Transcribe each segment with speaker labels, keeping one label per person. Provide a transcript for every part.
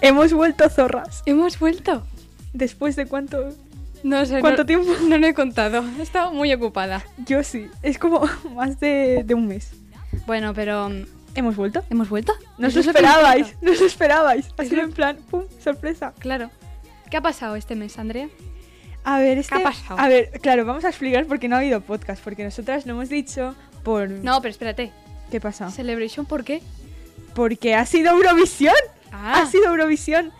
Speaker 1: Hemos vuelto zorras.
Speaker 2: Hemos vuelto.
Speaker 1: ¿Después de cuánto?
Speaker 2: No sé.
Speaker 1: ¿Cuánto
Speaker 2: no-
Speaker 1: tiempo?
Speaker 2: No lo he contado. He estado muy ocupada.
Speaker 1: Yo sí. Es como más de, de un mes.
Speaker 2: Bueno, pero mm,
Speaker 1: ¿Hemos vuelto?
Speaker 2: hemos vuelto.
Speaker 1: No os
Speaker 2: Eso
Speaker 1: lo
Speaker 2: es lo que me
Speaker 1: esperabais.
Speaker 2: importa.
Speaker 1: No os lo esperabais. Ha
Speaker 2: Es
Speaker 1: sido
Speaker 2: lo-
Speaker 1: en plan, pum, sorpresa.
Speaker 2: Claro. ¿Qué ha pasado este mes, Andrea?
Speaker 1: Mm. A ver, este...
Speaker 2: ha pasado?
Speaker 1: A ver, claro, vamos a explicar por qué no ha habido podcast. Porque nosotras no hemos dicho por...
Speaker 2: No, pero espérate.
Speaker 1: ¿Qué pasa?
Speaker 2: Celebration, ¿por qué?
Speaker 1: Porque ha sido Eurovisión.
Speaker 2: Ah,
Speaker 1: Ha sido Eurovisión.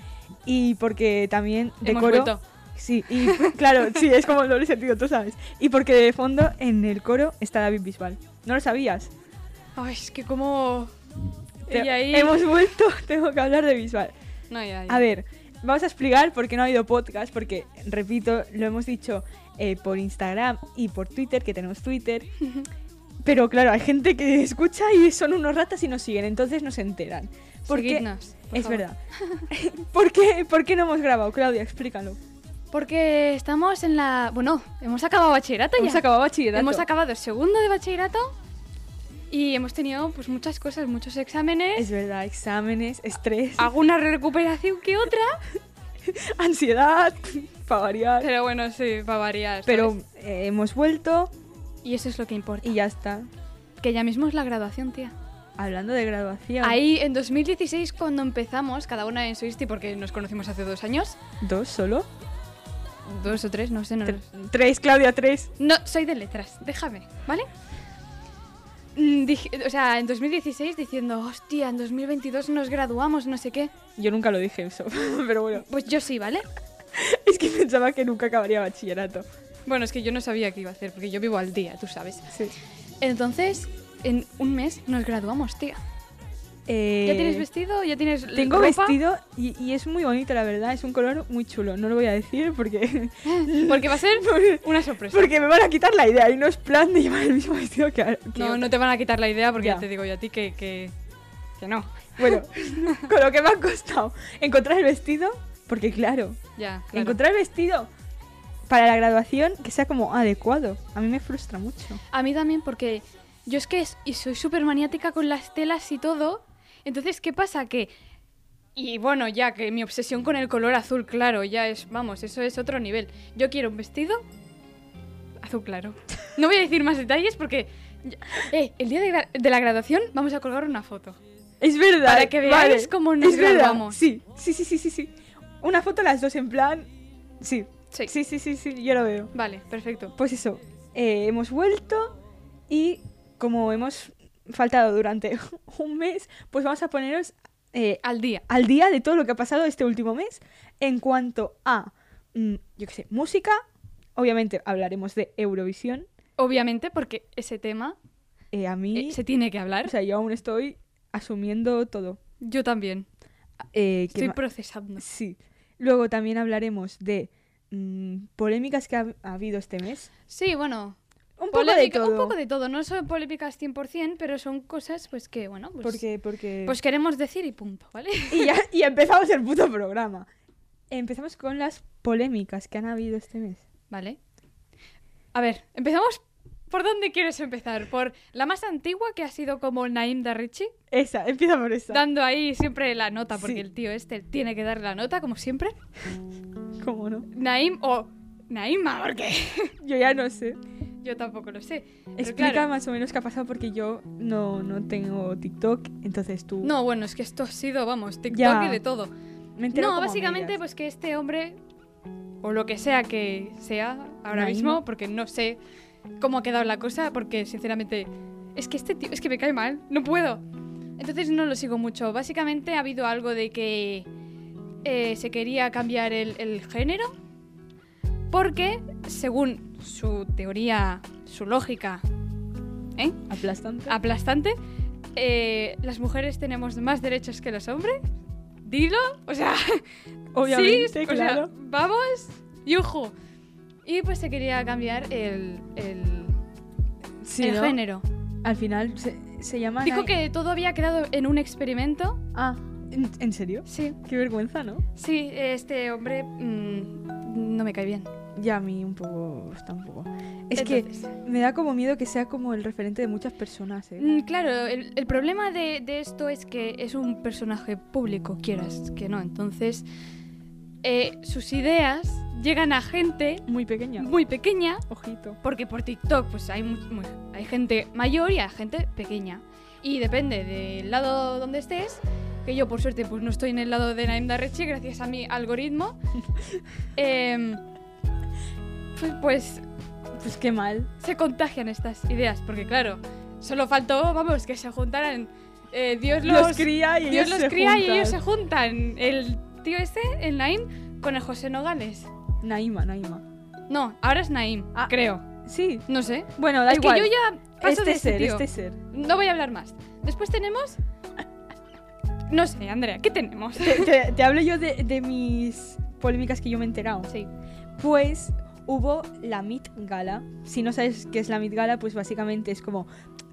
Speaker 1: Y porque también
Speaker 2: Ah, hemos
Speaker 1: decoro...
Speaker 2: vuelto.
Speaker 1: Sí, y claro, sí, es como el doble sentido, tú sabes. Y porque de fondo en el coro está David Bisbal. ¿No lo sabías?
Speaker 2: Ay, es que como...
Speaker 1: Te-
Speaker 2: Y ahí...
Speaker 1: Hemos vuelto, tengo que hablar de Bisbal.
Speaker 2: No, ya, ya.
Speaker 1: A ver, vamos a explicar por qué no ha habido podcast, porque, repito, lo hemos dicho eh, por Instagram y por Twitter, que tenemos Twitter. Pero claro, hay gente que escucha y son unos ratas y nos siguen, entonces nos enteran. Porque
Speaker 2: Seguidnos, por
Speaker 1: es
Speaker 2: favor.
Speaker 1: verdad. ¿Por qué, ¿Por qué no hemos grabado, Claudia? Explícalo.
Speaker 2: Porque estamos en la... Bueno, hemos acabado bachillerato
Speaker 1: Hemos
Speaker 2: ya.
Speaker 1: acabado bachillerato.
Speaker 2: Hemos acabado el segundo de bachillerato y hemos tenido pues muchas cosas, muchos exámenes,
Speaker 1: Es verdad, exámenes, estrés,
Speaker 2: alguna recuperación que otra,
Speaker 1: ansiedad, para variar. Pero,
Speaker 2: pero bueno, sí, va a variar. ¿sabes?
Speaker 1: eh, hemos vuelto
Speaker 2: Y eso es lo que importa.
Speaker 1: y ya está.
Speaker 2: Que ya mismo es la graduación, tía.
Speaker 1: Hablando de graduación.
Speaker 2: Ahí en 2016, cuando empezamos, cada una en su insti, porque nos conocimos hace dos años,
Speaker 1: ¿Dos solo?
Speaker 2: dos o tres, no sé, no.
Speaker 1: Tre-
Speaker 2: lo sé.
Speaker 1: tres, Claudia, tres.
Speaker 2: No, soy de letras, déjame, ¿vale? Mm, dije- o sea, en 2016 diciendo, hostia, en 2022 nos graduamos, no sé qué.
Speaker 1: Yo nunca lo dije eso, pero bueno.
Speaker 2: Pues yo sí, ¿vale?
Speaker 1: Es que pensaba que nunca acabaría bachillerato.
Speaker 2: Bueno, es que yo no sabía qué iba a hacer, porque yo vivo al día, tú sabes.
Speaker 1: Sí.
Speaker 2: Entonces, en un mes nos graduamos, tía. ¿Ya tienes vestido? ¿Ya tienes l-
Speaker 1: Eh, Tengo
Speaker 2: ropa?
Speaker 1: vestido y, y es muy bonito, la verdad. Es un color muy chulo. No lo voy a decir porque,
Speaker 2: Porque va a ser una sorpresa.
Speaker 1: porque me van a quitar la idea y no es plan de llevar el mismo vestido que, a- que
Speaker 2: No,
Speaker 1: otra.
Speaker 2: no te van a quitar la idea porque ya,
Speaker 1: Ya.
Speaker 2: te digo yo a ti que, que, que no.
Speaker 1: Bueno, con lo que me ha costado encontrar el vestido, porque claro,
Speaker 2: Ya, claro.
Speaker 1: encontrar el vestido para la graduación que sea como adecuado. A mí me frustra mucho.
Speaker 2: A mí también porque yo es que es- y soy súper maniática con las telas y todo. Entonces, ¿qué pasa? Que... Y bueno, ya que mi obsesión con el color azul claro ya es, vamos, eso es otro nivel. Yo quiero un vestido azul claro. No voy a decir más detalles porque... Eh, el día de, gra- de la graduación vamos a colgar una foto.
Speaker 1: Es verdad.
Speaker 2: Para que veáis cómo nos
Speaker 1: es verdad.
Speaker 2: graduamos.
Speaker 1: Sí, sí, sí, sí, sí, sí. Una foto las dos en plan. Sí.
Speaker 2: Sí.
Speaker 1: Sí, sí, sí, sí, yo lo veo.
Speaker 2: Vale, perfecto.
Speaker 1: Pues eso, eh, hemos vuelto y como hemos faltado durante un mes, pues vamos a poneros eh,
Speaker 2: Al día.
Speaker 1: al día de todo lo que ha pasado este último mes en cuanto a, mm, yo qué sé, música. Obviamente hablaremos de Eurovisión.
Speaker 2: Obviamente porque ese tema
Speaker 1: Eh, a mí,
Speaker 2: eh, se tiene que hablar.
Speaker 1: o sea, yo aún estoy asumiendo todo.
Speaker 2: Yo también.
Speaker 1: Eh, ¿qué
Speaker 2: Estoy
Speaker 1: ma-
Speaker 2: procesando.
Speaker 1: Sí. Luego también hablaremos de mm, polémicas que ha, ha habido este mes.
Speaker 2: Sí, bueno.
Speaker 1: Un poco
Speaker 2: polémica-
Speaker 1: de
Speaker 2: Un
Speaker 1: todo.
Speaker 2: poco de todo. No son polémicas 100%, pero son cosas pues que, bueno, pues,
Speaker 1: Porque, porque...
Speaker 2: pues queremos decir y punto, ¿vale?
Speaker 1: Y, ya- y empezamos el puto programa. Empezamos con las polémicas que han habido este mes.
Speaker 2: Vale. A ver, empezamos. ¿Por dónde quieres empezar? ¿Por la más antigua que ha sido como Naim Darrichi?
Speaker 1: Esa, empieza por esa.
Speaker 2: Dando ahí siempre la nota, porque
Speaker 1: Sí.
Speaker 2: el tío este tiene que dar la nota, como siempre.
Speaker 1: ¿Cómo no?
Speaker 2: Naim o Naima, porque
Speaker 1: Yo ya no sé.
Speaker 2: yo tampoco lo sé. Pero
Speaker 1: Explica
Speaker 2: claro.
Speaker 1: más o menos qué ha pasado porque yo no, no tengo TikTok, entonces tú...
Speaker 2: No, bueno, es que esto ha sido, vamos, TikTok
Speaker 1: Ya.
Speaker 2: y de todo.
Speaker 1: me entero
Speaker 2: No,
Speaker 1: como a
Speaker 2: básicamente
Speaker 1: medias.
Speaker 2: pues que este hombre, o lo que sea que sea ahora
Speaker 1: Naim.
Speaker 2: mismo, porque no sé cómo ha quedado la cosa, porque sinceramente es que este tío, es que me cae mal, no puedo. Entonces no lo sigo mucho. Básicamente ha habido algo de que eh, se quería cambiar el, el género, porque según su teoría, su lógica, ¿eh?
Speaker 1: Aplastante.
Speaker 2: aplastante, eh, las mujeres tenemos más derechos que los hombres. Dilo, o sea,
Speaker 1: Obviamente,
Speaker 2: sí, o sea,
Speaker 1: claro.
Speaker 2: vamos, yuju. Y pues se quería cambiar el, el,
Speaker 1: Sí,
Speaker 2: el
Speaker 1: ¿no?
Speaker 2: género.
Speaker 1: Al final se, se llaman...
Speaker 2: Dijo
Speaker 1: ahí-
Speaker 2: que todo había quedado en un experimento.
Speaker 1: Ah, ¿en, en serio?
Speaker 2: Sí,
Speaker 1: Qué vergüenza, ¿no?
Speaker 2: sí, este hombre mm, no me cae bien.
Speaker 1: Ya a mí un poco... Está un poco... Es
Speaker 2: Entonces.
Speaker 1: que me da como miedo que sea como el referente de muchas personas, ¿eh?
Speaker 2: Mm, Claro, el, el problema de, de esto es que es un personaje público, quieras que no. Entonces, eh, sus ideas llegan a gente
Speaker 1: Muy pequeña.
Speaker 2: muy pequeña
Speaker 1: Ojito.
Speaker 2: Porque por TikTok pues hay, mu- mu- hay gente mayor y hay gente pequeña. Y depende del lado donde estés, que yo por suerte pues no estoy en el lado de Naim Darrechi gracias a mi algoritmo. Em, pues, pues
Speaker 1: Pues qué mal.
Speaker 2: se contagian estas ideas, porque claro, solo faltó, vamos, que se juntaran eh, Dios los,
Speaker 1: Los cría y
Speaker 2: Dios
Speaker 1: ellos
Speaker 2: los
Speaker 1: se
Speaker 2: cría y
Speaker 1: juntan.
Speaker 2: ellos se juntan. El tío este, el Naim, con el José Nogales.
Speaker 1: Naima, Naima.
Speaker 2: No, ahora es Naim,
Speaker 1: Ah.
Speaker 2: creo.
Speaker 1: Sí.
Speaker 2: No sé.
Speaker 1: Bueno, da
Speaker 2: es
Speaker 1: igual.
Speaker 2: que yo ya paso
Speaker 1: este
Speaker 2: de este
Speaker 1: ser,
Speaker 2: tío.
Speaker 1: este ser.
Speaker 2: No voy a hablar más. Después tenemos. No sé, Andrea, ¿qué tenemos?
Speaker 1: Te, te- te hablo yo de, de mis polémicas que yo me he enterado.
Speaker 2: Sí.
Speaker 1: Pues hubo la Meet Gala. Si no sabes qué es la Meet Gala, pues básicamente es como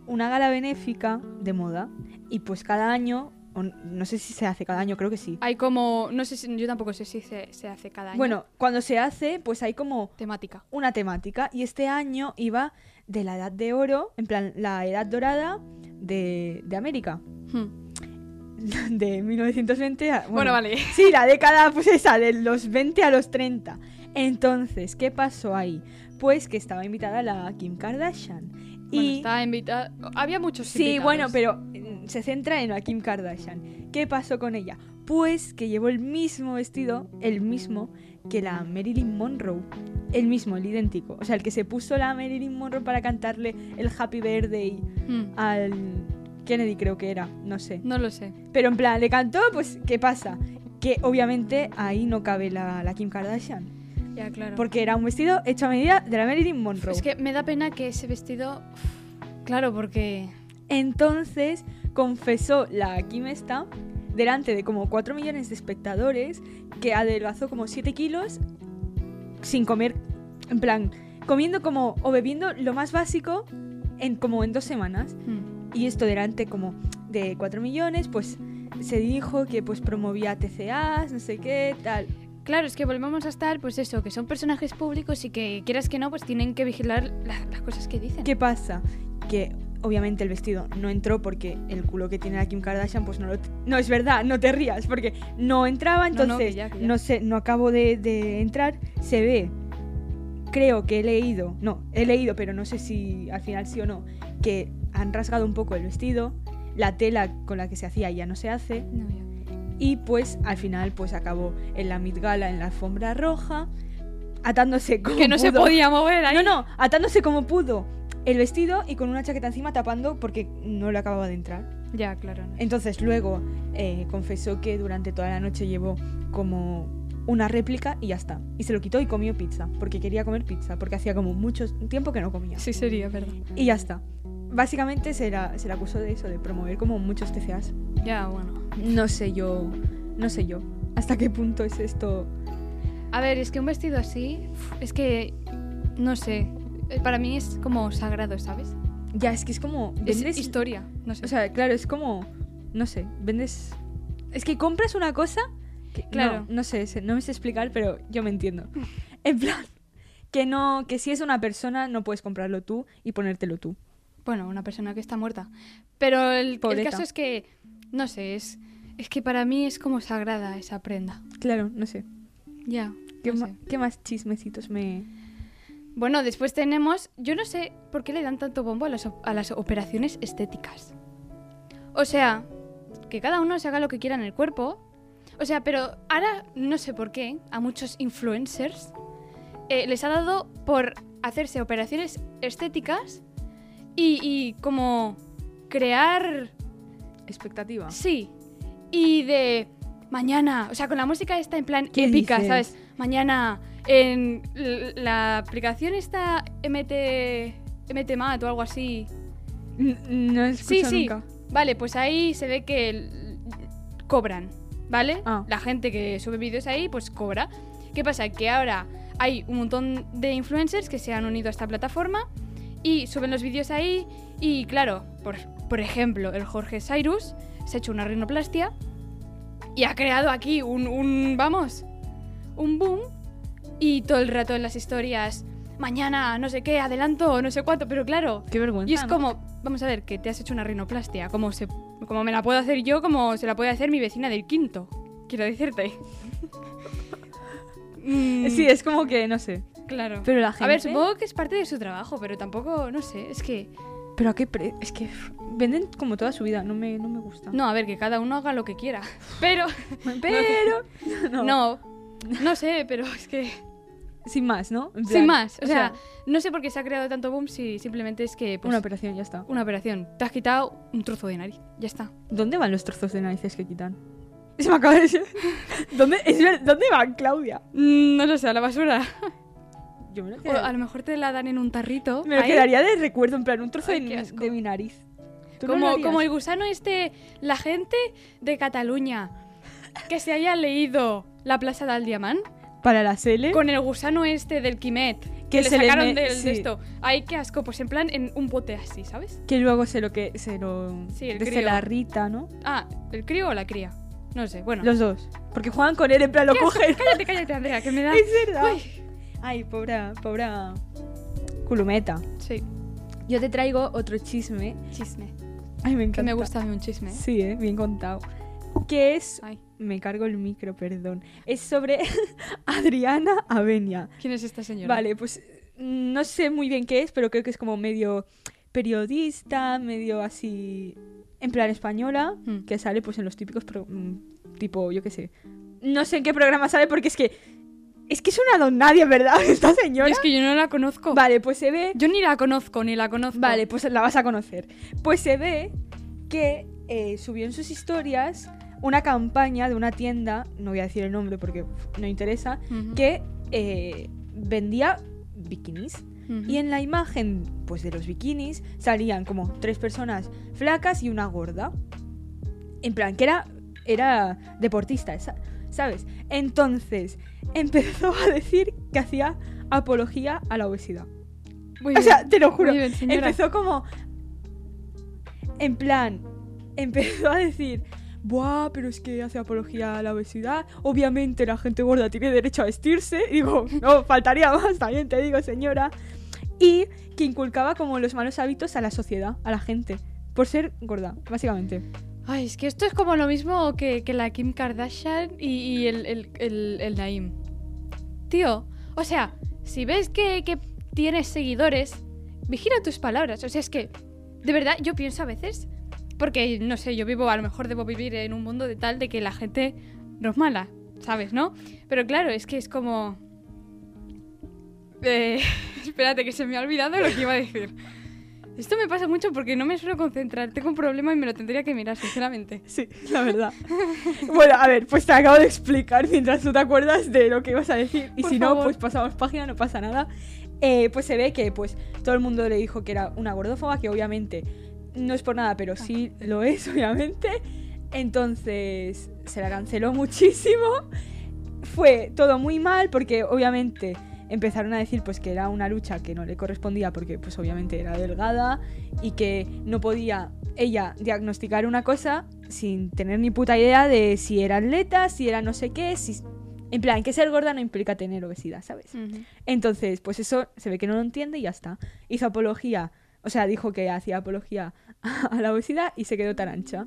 Speaker 1: una gala benéfica de moda. Y pues cada año, o n- no sé si se hace cada año, creo que sí.
Speaker 2: Hay como. No sé si. Yo tampoco sé si se, se hace cada año.
Speaker 1: Bueno, cuando se hace, pues hay como
Speaker 2: Temática.
Speaker 1: una temática. Y este año iba de la edad de oro, en plan la edad dorada de, de América.
Speaker 2: Hmm.
Speaker 1: De 1920 a...
Speaker 2: Bueno, vale.
Speaker 1: Sí, la década, pues esa, de los 20 a los 30. Entonces, ¿qué pasó ahí? Pues que estaba invitada la Kim Kardashian.
Speaker 2: Bueno,
Speaker 1: y
Speaker 2: está invitada. Había muchos.
Speaker 1: sí,
Speaker 2: invitados.
Speaker 1: bueno, pero mm, se centra en la Kim Kardashian. ¿Qué pasó con ella? Pues que llevó el mismo vestido, el mismo que la Marilyn Monroe. El mismo, el idéntico. O sea, el que se puso la Marilyn Monroe para cantarle el Happy Birthday
Speaker 2: Hmm,
Speaker 1: al Kennedy, creo que era. No sé.
Speaker 2: No lo sé.
Speaker 1: Pero en plan, le cantó, pues, ¿qué pasa? Que obviamente ahí no cabe la, la Kim Kardashian.
Speaker 2: Ya, claro.
Speaker 1: Porque era un vestido hecho a medida de la Marilyn Monroe.
Speaker 2: Es que me da pena que ese vestido. Claro, porque.
Speaker 1: Entonces confesó la Kim esta, delante de como 4 millones de espectadores, que adelgazó como 7 kilos sin comer, en plan, comiendo como o bebiendo lo más básico en como en dos semanas.
Speaker 2: Hmm.
Speaker 1: Y esto delante como de 4 millones, pues se dijo que pues promovía TCAs, no sé qué, tal.
Speaker 2: Claro, es que volvemos a estar, pues eso, que son personajes públicos y que quieras que no, pues tienen que vigilar la- las cosas que dicen.
Speaker 1: ¿Qué pasa? Que obviamente el vestido no entró porque el culo que tiene la Kim Kardashian, pues no lo... t- No, es verdad, no te rías, porque no entraba,
Speaker 2: No, no,
Speaker 1: entonces no,
Speaker 2: que ya, que ya.
Speaker 1: sé, no acabo de, de entrar, se ve. Creo que he leído, no, he leído, pero no sé si al final sí o no, que han rasgado un poco el vestido, la tela con la que se hacía ya no se hace,
Speaker 2: No, ya.
Speaker 1: y pues al final pues acabó en la Met Gala en la alfombra roja, atándose como
Speaker 2: Que no se
Speaker 1: pudo.
Speaker 2: podía mover ahí.
Speaker 1: No, no, atándose como pudo el vestido y con una chaqueta encima tapando porque no le acababa de entrar.
Speaker 2: Ya, claro. no.
Speaker 1: Entonces luego eh, confesó que durante toda la noche llevó como una réplica y ya está. Y se lo quitó y comió pizza porque quería comer pizza porque hacía como mucho tiempo que no comía.
Speaker 2: Sí, sería, verdad.
Speaker 1: Y ya está. Básicamente se la, se la acusó de eso, de promover como muchos TCAs.
Speaker 2: Ya, bueno.
Speaker 1: No sé yo, no sé yo. ¿Hasta qué punto es esto?
Speaker 2: A ver, es que un vestido así, uf, es que, no sé, eh, para mí es como sagrado, ¿sabes?
Speaker 1: Ya, es que es como...
Speaker 2: Es
Speaker 1: vendes-
Speaker 2: historia, no sé.
Speaker 1: O sea, claro, es como. No sé, vendes. Es que compras una cosa. que-
Speaker 2: Claro.
Speaker 1: No, no sé, se- no me sé explicar, pero yo me entiendo. En plan, que no. Que si es una persona, no puedes comprarlo tú y ponértelo tú.
Speaker 2: bueno, una persona que está muerta. Pero el, el
Speaker 1: Pobreta.
Speaker 2: caso es que, no sé, es, es que para mí es como sagrada esa prenda.
Speaker 1: Claro, no sé.
Speaker 2: Ya.
Speaker 1: ¿Qué,
Speaker 2: no
Speaker 1: ma-
Speaker 2: sé.
Speaker 1: qué más chismecitos me.
Speaker 2: Bueno, después tenemos, yo no sé por qué le dan tanto bombo a las, op- a las operaciones estéticas. O sea, que cada uno se haga lo que quiera en el cuerpo. O sea, pero ahora no sé por qué a muchos influencers eh, les ha dado por hacerse operaciones estéticas y, y como crear...
Speaker 1: Expectativa.
Speaker 2: Sí. Y de mañana, o sea, con la música está en plan
Speaker 1: ¿Qué
Speaker 2: épica,
Speaker 1: dices?
Speaker 2: ¿sabes? Mañana en l- la aplicación está MT... MTMAT o algo así.
Speaker 1: No he escuchado
Speaker 2: sí, sí.
Speaker 1: nunca.
Speaker 2: Vale, pues ahí se ve que l- cobran, ¿vale?
Speaker 1: Ah.
Speaker 2: La gente que sube vídeos ahí, pues cobra. ¿Qué pasa? Que ahora hay un montón de influencers que se han unido a esta plataforma y suben los vídeos ahí. Y claro, por, por ejemplo, el Jorge Cyrus se ha hecho una rinoplastia y ha creado aquí un, un vamos, un boom. Y todo el rato en las historias, mañana, no sé qué, adelanto, o no sé cuánto, pero claro,
Speaker 1: Qué vergüenza.
Speaker 2: y es
Speaker 1: Ah, ¿no?
Speaker 2: como, vamos a ver, que te has hecho una rinoplastia. Como, se, como me la puedo hacer yo, como se la puede hacer mi vecina del quinto. Quiero decirte. Mm,
Speaker 1: Sí, es como que, no sé.
Speaker 2: claro.
Speaker 1: Pero la gente.
Speaker 2: A ver, supongo que es parte de su trabajo, pero tampoco, no sé, es que...
Speaker 1: Pero a qué pre- Es que pff, venden como toda su vida. No me, no me gusta.
Speaker 2: No, a ver, que cada uno haga lo que quiera. Pero,
Speaker 1: Pero.
Speaker 2: no, no, sé, pero es que...
Speaker 1: Sin más, ¿no? En plan,
Speaker 2: Sin más, o sea, no sé por qué se ha creado tanto boom si simplemente es que... pues,
Speaker 1: una operación, ya está.
Speaker 2: una operación. Te has quitado un trozo de nariz, ya está.
Speaker 1: ¿Dónde van los trozos de narices que quitan? Se me acaba de decir. ¿Dónde, es ver- ¿Dónde van, Claudia?
Speaker 2: Mm, No lo sé, a la basura.
Speaker 1: Yo me lo,
Speaker 2: O
Speaker 1: quedaría,
Speaker 2: a lo mejor te la dan en un tarrito.
Speaker 1: me lo
Speaker 2: ahí,
Speaker 1: quedaría de recuerdo, en plan, un trozo
Speaker 2: Ay,
Speaker 1: de,
Speaker 2: qué asco.
Speaker 1: de mi nariz. ¿Tú no lo
Speaker 2: como,
Speaker 1: harías?
Speaker 2: como el gusano este, la gente de Cataluña que se haya leído La Plaza del Diamant
Speaker 1: Para la L.
Speaker 2: con el gusano este del Quimet que,
Speaker 1: ¿Eh? Que
Speaker 2: le
Speaker 1: se le
Speaker 2: sacaron
Speaker 1: me-
Speaker 2: del-
Speaker 1: sí.
Speaker 2: de esto. Ay, qué asco. Pues en plan en un bote así, ¿sabes?
Speaker 1: Que luego se lo que. Se lo.
Speaker 2: Sí, el
Speaker 1: de- se
Speaker 2: crío.
Speaker 1: la rita, ¿no?
Speaker 2: Ah, ¿el crío o la cría? No sé, bueno.
Speaker 1: Los dos. Porque juegan con él, en plan, lo
Speaker 2: Qué asco,
Speaker 1: cogen.
Speaker 2: Cállate, cállate, Andrea, que me da...
Speaker 1: Es verdad.
Speaker 2: Uy,
Speaker 1: Ay, pobre. Pobre. Culumeta.
Speaker 2: sí,
Speaker 1: Yo te traigo otro chisme.
Speaker 2: chisme.
Speaker 1: Ay, me encanta.
Speaker 2: Que me gusta a mí un chisme. ¿eh?
Speaker 1: Sí, eh, bien contado. Que es.
Speaker 2: Ay,
Speaker 1: Me cargo el micro, perdón. Es sobre Adriana Avenia.
Speaker 2: ¿quién es esta señora?
Speaker 1: Vale, pues no sé muy bien qué es, pero creo que es como medio periodista, medio así en plan española,
Speaker 2: Mm.
Speaker 1: que sale pues en los típicos, pro- mm, tipo, yo qué sé. No sé en qué programa sale porque es que es que es una don nadie, ¿verdad? Esta señora.
Speaker 2: Es que yo no la conozco.
Speaker 1: Vale, pues se ve
Speaker 2: Yo ni la conozco, ni la conozco.
Speaker 1: Vale, pues la vas a conocer. Pues se ve que eh, subió en sus historias una campaña de una tienda, no voy a decir el nombre porque uf, no interesa,
Speaker 2: Ujú.
Speaker 1: que eh, vendía bikinis.
Speaker 2: Ujú.
Speaker 1: Y en la imagen pues, de los bikinis salían como tres personas flacas y una gorda. En plan, que era, era deportista, esa- ¿sabes? Entonces empezó a decir que hacía apología a la obesidad.
Speaker 2: Muy
Speaker 1: O
Speaker 2: bien.
Speaker 1: sea, te lo juro.
Speaker 2: Muy bien, señora.
Speaker 1: Empezó como. En plan, empezó a decir. Buah, pero es que hace apología a la obesidad. Obviamente la gente gorda tiene derecho a vestirse. Y digo, no, faltaría más, también te digo, señora. Y que inculcaba como los malos hábitos a la sociedad, a la gente. Por ser gorda, básicamente.
Speaker 2: Ay, es que esto es como lo mismo que, que la Kim Kardashian y, y el, el, el- el Naim. Tío, o sea, si ves que, que tienes seguidores, vigila tus palabras. O sea, es que, de verdad, yo pienso a veces, porque, no sé, yo vivo, a lo mejor debo vivir en un mundo de tal de que la gente no es mala, ¿sabes, no? Pero claro, es que es como... Eh, espérate, que se me ha olvidado lo que iba a decir. Esto me pasa mucho porque no me suelo concentrar. Tengo un problema y me lo tendría que mirar, sinceramente.
Speaker 1: Sí, la verdad. bueno, a ver, pues te acabo de explicar mientras tú te acuerdas de lo que ibas a decir. Y
Speaker 2: Por
Speaker 1: si no,
Speaker 2: favor.
Speaker 1: pues pasamos página, no pasa nada. Eh, pues se ve que pues todo el mundo le dijo que era una gordófoba, que obviamente no es por nada, pero sí lo es, obviamente. Entonces se la canceló muchísimo. Fue todo muy mal porque obviamente empezaron a decir pues que era una lucha que no le correspondía porque pues obviamente era delgada y que no podía ella diagnosticar una cosa sin tener ni puta idea de si era atleta, si era no sé qué, si en plan que ser gorda no implica tener obesidad, ¿sabes?
Speaker 2: Mm.
Speaker 1: Entonces, pues eso se ve que no lo entiende y ya está. Hizo apología, o sea, dijo que hacía apología a la obesidad y se quedó tan ancha.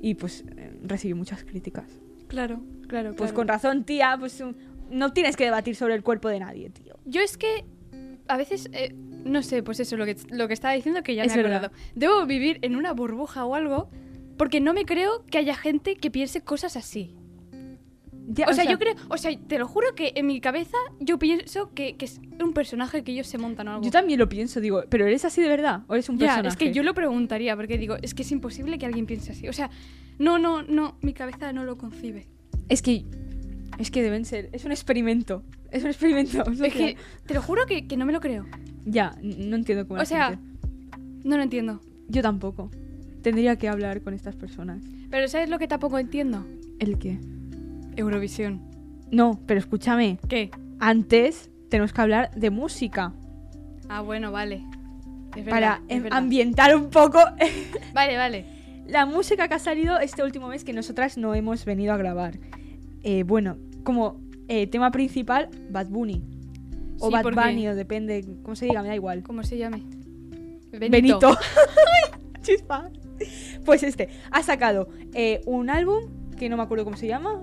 Speaker 1: Y pues eh, recibió muchas críticas.
Speaker 2: Claro, claro,
Speaker 1: Pues
Speaker 2: claro.
Speaker 1: con razón, tía, pues um, no tienes que debatir sobre el cuerpo de nadie, tío.
Speaker 2: Yo es que a veces, eh, no sé, pues eso, lo que, lo que estaba diciendo que ya
Speaker 1: Es
Speaker 2: me he
Speaker 1: verdad.
Speaker 2: acordado. Debo vivir en una burbuja o algo porque no me creo que haya gente que piense cosas así.
Speaker 1: Ya,
Speaker 2: o, sea, yo creo, o sea, te lo juro que en mi cabeza yo pienso que, que es un personaje que ellos se montan o algo.
Speaker 1: Yo también lo pienso, digo, pero eres así de verdad o eres un
Speaker 2: Ya,
Speaker 1: personaje.
Speaker 2: es que yo lo preguntaría porque digo, es que es imposible que alguien piense así. O sea, no, no, no, mi cabeza no lo concibe.
Speaker 1: es que es que deben ser, es un experimento, es un experimento.
Speaker 2: Es que te lo juro que, que no me lo creo.
Speaker 1: ya, n- no entiendo cómo la
Speaker 2: O sea,
Speaker 1: gente-
Speaker 2: no lo entiendo.
Speaker 1: yo tampoco. tendría que hablar con estas personas.
Speaker 2: Pero ¿sabes lo que tampoco entiendo?
Speaker 1: ¿El qué?
Speaker 2: Eurovisión.
Speaker 1: No, pero escúchame.
Speaker 2: ¿Qué?
Speaker 1: Antes tenemos que hablar de música
Speaker 2: Ah, bueno, vale. Es verdad,
Speaker 1: para
Speaker 2: es
Speaker 1: em-
Speaker 2: verdad.
Speaker 1: ambientar un poco
Speaker 2: Vale, vale.
Speaker 1: la música que ha salido este último mes que nosotras no hemos venido a grabar. Eh, bueno, como eh, tema principal, Bad Bunny. O
Speaker 2: Sí,
Speaker 1: Bad
Speaker 2: porque-
Speaker 1: Bunny, o depende, cómo se diga, me da igual.
Speaker 2: ¿Cómo se llame?
Speaker 1: Benito. Ay, Chispa. Pues este, ha sacado eh, un álbum que no me acuerdo cómo se llama.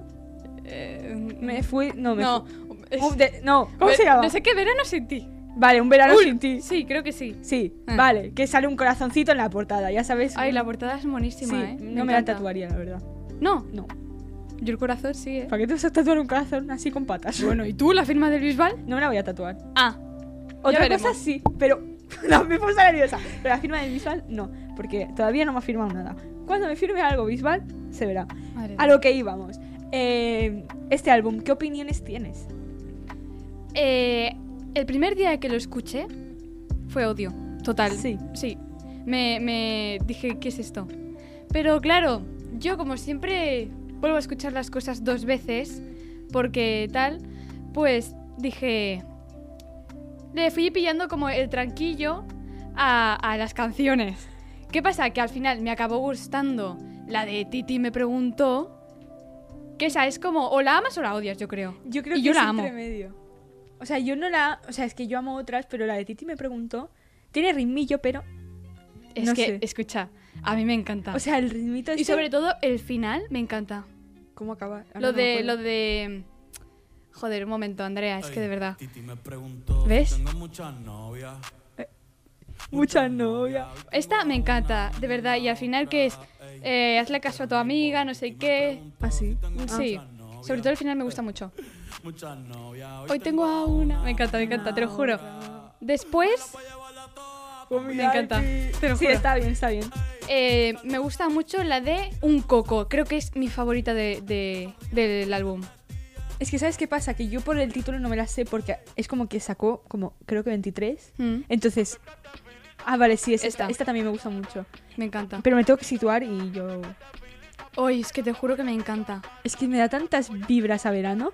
Speaker 2: Eh,
Speaker 1: Me fui. No, me
Speaker 2: No. um,
Speaker 1: fui.
Speaker 2: es-
Speaker 1: Un de- no, ¿cómo
Speaker 2: Ve-
Speaker 1: se llama?
Speaker 2: No sé qué, verano sin ti.
Speaker 1: Vale, un verano
Speaker 2: Ul-
Speaker 1: sin ti.
Speaker 2: Sí, creo que sí.
Speaker 1: Sí,
Speaker 2: Ah.
Speaker 1: vale, que sale un corazoncito en la portada, ya sabes.
Speaker 2: Ay,
Speaker 1: un-
Speaker 2: la portada es
Speaker 1: Sí,
Speaker 2: monísima, ¿eh?
Speaker 1: no me la
Speaker 2: encanta.
Speaker 1: tatuaría, la verdad.
Speaker 2: No,
Speaker 1: No.
Speaker 2: yo el corazón sí, ¿eh?
Speaker 1: ¿Para qué te vas a tatuar un corazón así con patas?
Speaker 2: Bueno, ¿y tú, la firma del Bisbal?
Speaker 1: No me la voy a tatuar.
Speaker 2: Ah,
Speaker 1: Otra
Speaker 2: veremos.
Speaker 1: cosa sí, pero. No, me puse nerviosa. Pero la firma del visual, no. Porque todavía no me ha firmado nada. Cuando me firme algo visual, se verá.
Speaker 2: madre
Speaker 1: A lo que íbamos. Eh, este álbum, ¿qué opiniones tienes?
Speaker 2: Eh, el primer día que lo escuché fue odio, total.
Speaker 1: Sí.
Speaker 2: Sí. Me, me dije, ¿qué es esto? Pero claro, yo como siempre vuelvo a escuchar las cosas dos veces, porque tal, pues dije, le fui pillando como el tranquillo a, a las canciones. ¿Qué pasa? Que al final me acabó gustando la de Titi me preguntó, que esa es como, o la amas o la odias, yo creo.
Speaker 1: Yo creo
Speaker 2: Y
Speaker 1: que
Speaker 2: yo
Speaker 1: es
Speaker 2: la amo.
Speaker 1: entremedio. O sea, yo no la. O sea, es que yo amo otras, pero la de Titi me preguntó. Tiene ritmillo, pero.
Speaker 2: Es
Speaker 1: No
Speaker 2: que,
Speaker 1: sé.
Speaker 2: escucha, a mí me encanta.
Speaker 1: O sea, el ritmito
Speaker 2: Ah.
Speaker 1: este,
Speaker 2: y sobre todo el final me encanta.
Speaker 1: ¿Cómo acaba? Ahora
Speaker 2: lo
Speaker 1: no me
Speaker 2: de,
Speaker 1: acuerdo.
Speaker 2: lo de. Joder, un momento, Andrea, es que de verdad.
Speaker 3: Titi me preguntó si
Speaker 2: ¿Ves?
Speaker 3: Tengo muchas novias.
Speaker 1: Muchas novias.
Speaker 2: Esta me encanta, de verdad. Y al final que es. eh, hazle caso a tu amiga, no sé qué.
Speaker 1: Así.
Speaker 2: Sí. Sobre todo el final me gusta mucho.
Speaker 3: Muchas novias.
Speaker 2: Hoy tengo a una. Me encanta, me encanta, te lo juro. Después, me encanta, te lo
Speaker 1: Ah. Sí,
Speaker 2: juro.
Speaker 1: está bien, está bien.
Speaker 2: eh, me gusta mucho la de Un Coco. Creo que es mi favorita de- de- del álbum.
Speaker 1: Es que, ¿sabes qué pasa? Que yo por el título no me la sé porque es como que sacó, como, creo que 23.
Speaker 2: Mm,
Speaker 1: Entonces. Ah, vale, sí, es esta.
Speaker 2: Esta.
Speaker 1: Esta también me gusta mucho.
Speaker 2: me encanta.
Speaker 1: Pero me tengo que situar y yo.
Speaker 2: Hoy es que te juro que me encanta.
Speaker 1: Es que me da tantas vibras a verano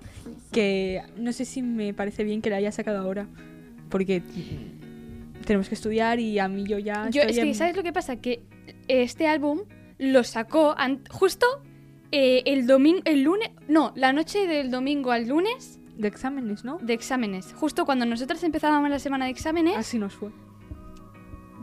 Speaker 1: que no sé si me parece bien que la haya sacado ahora. Porque mm, tenemos que estudiar y a mí yo ya.
Speaker 2: Yo,
Speaker 1: estoy
Speaker 2: es que,
Speaker 1: en-
Speaker 2: ¿sabes lo que pasa? Que este álbum lo sacó an- justo eh, el domingo, el lunes, no, la noche del domingo al lunes
Speaker 1: De exámenes, ¿no?
Speaker 2: de exámenes. Justo cuando nosotros empezábamos la semana de exámenes,
Speaker 1: Así nos fue.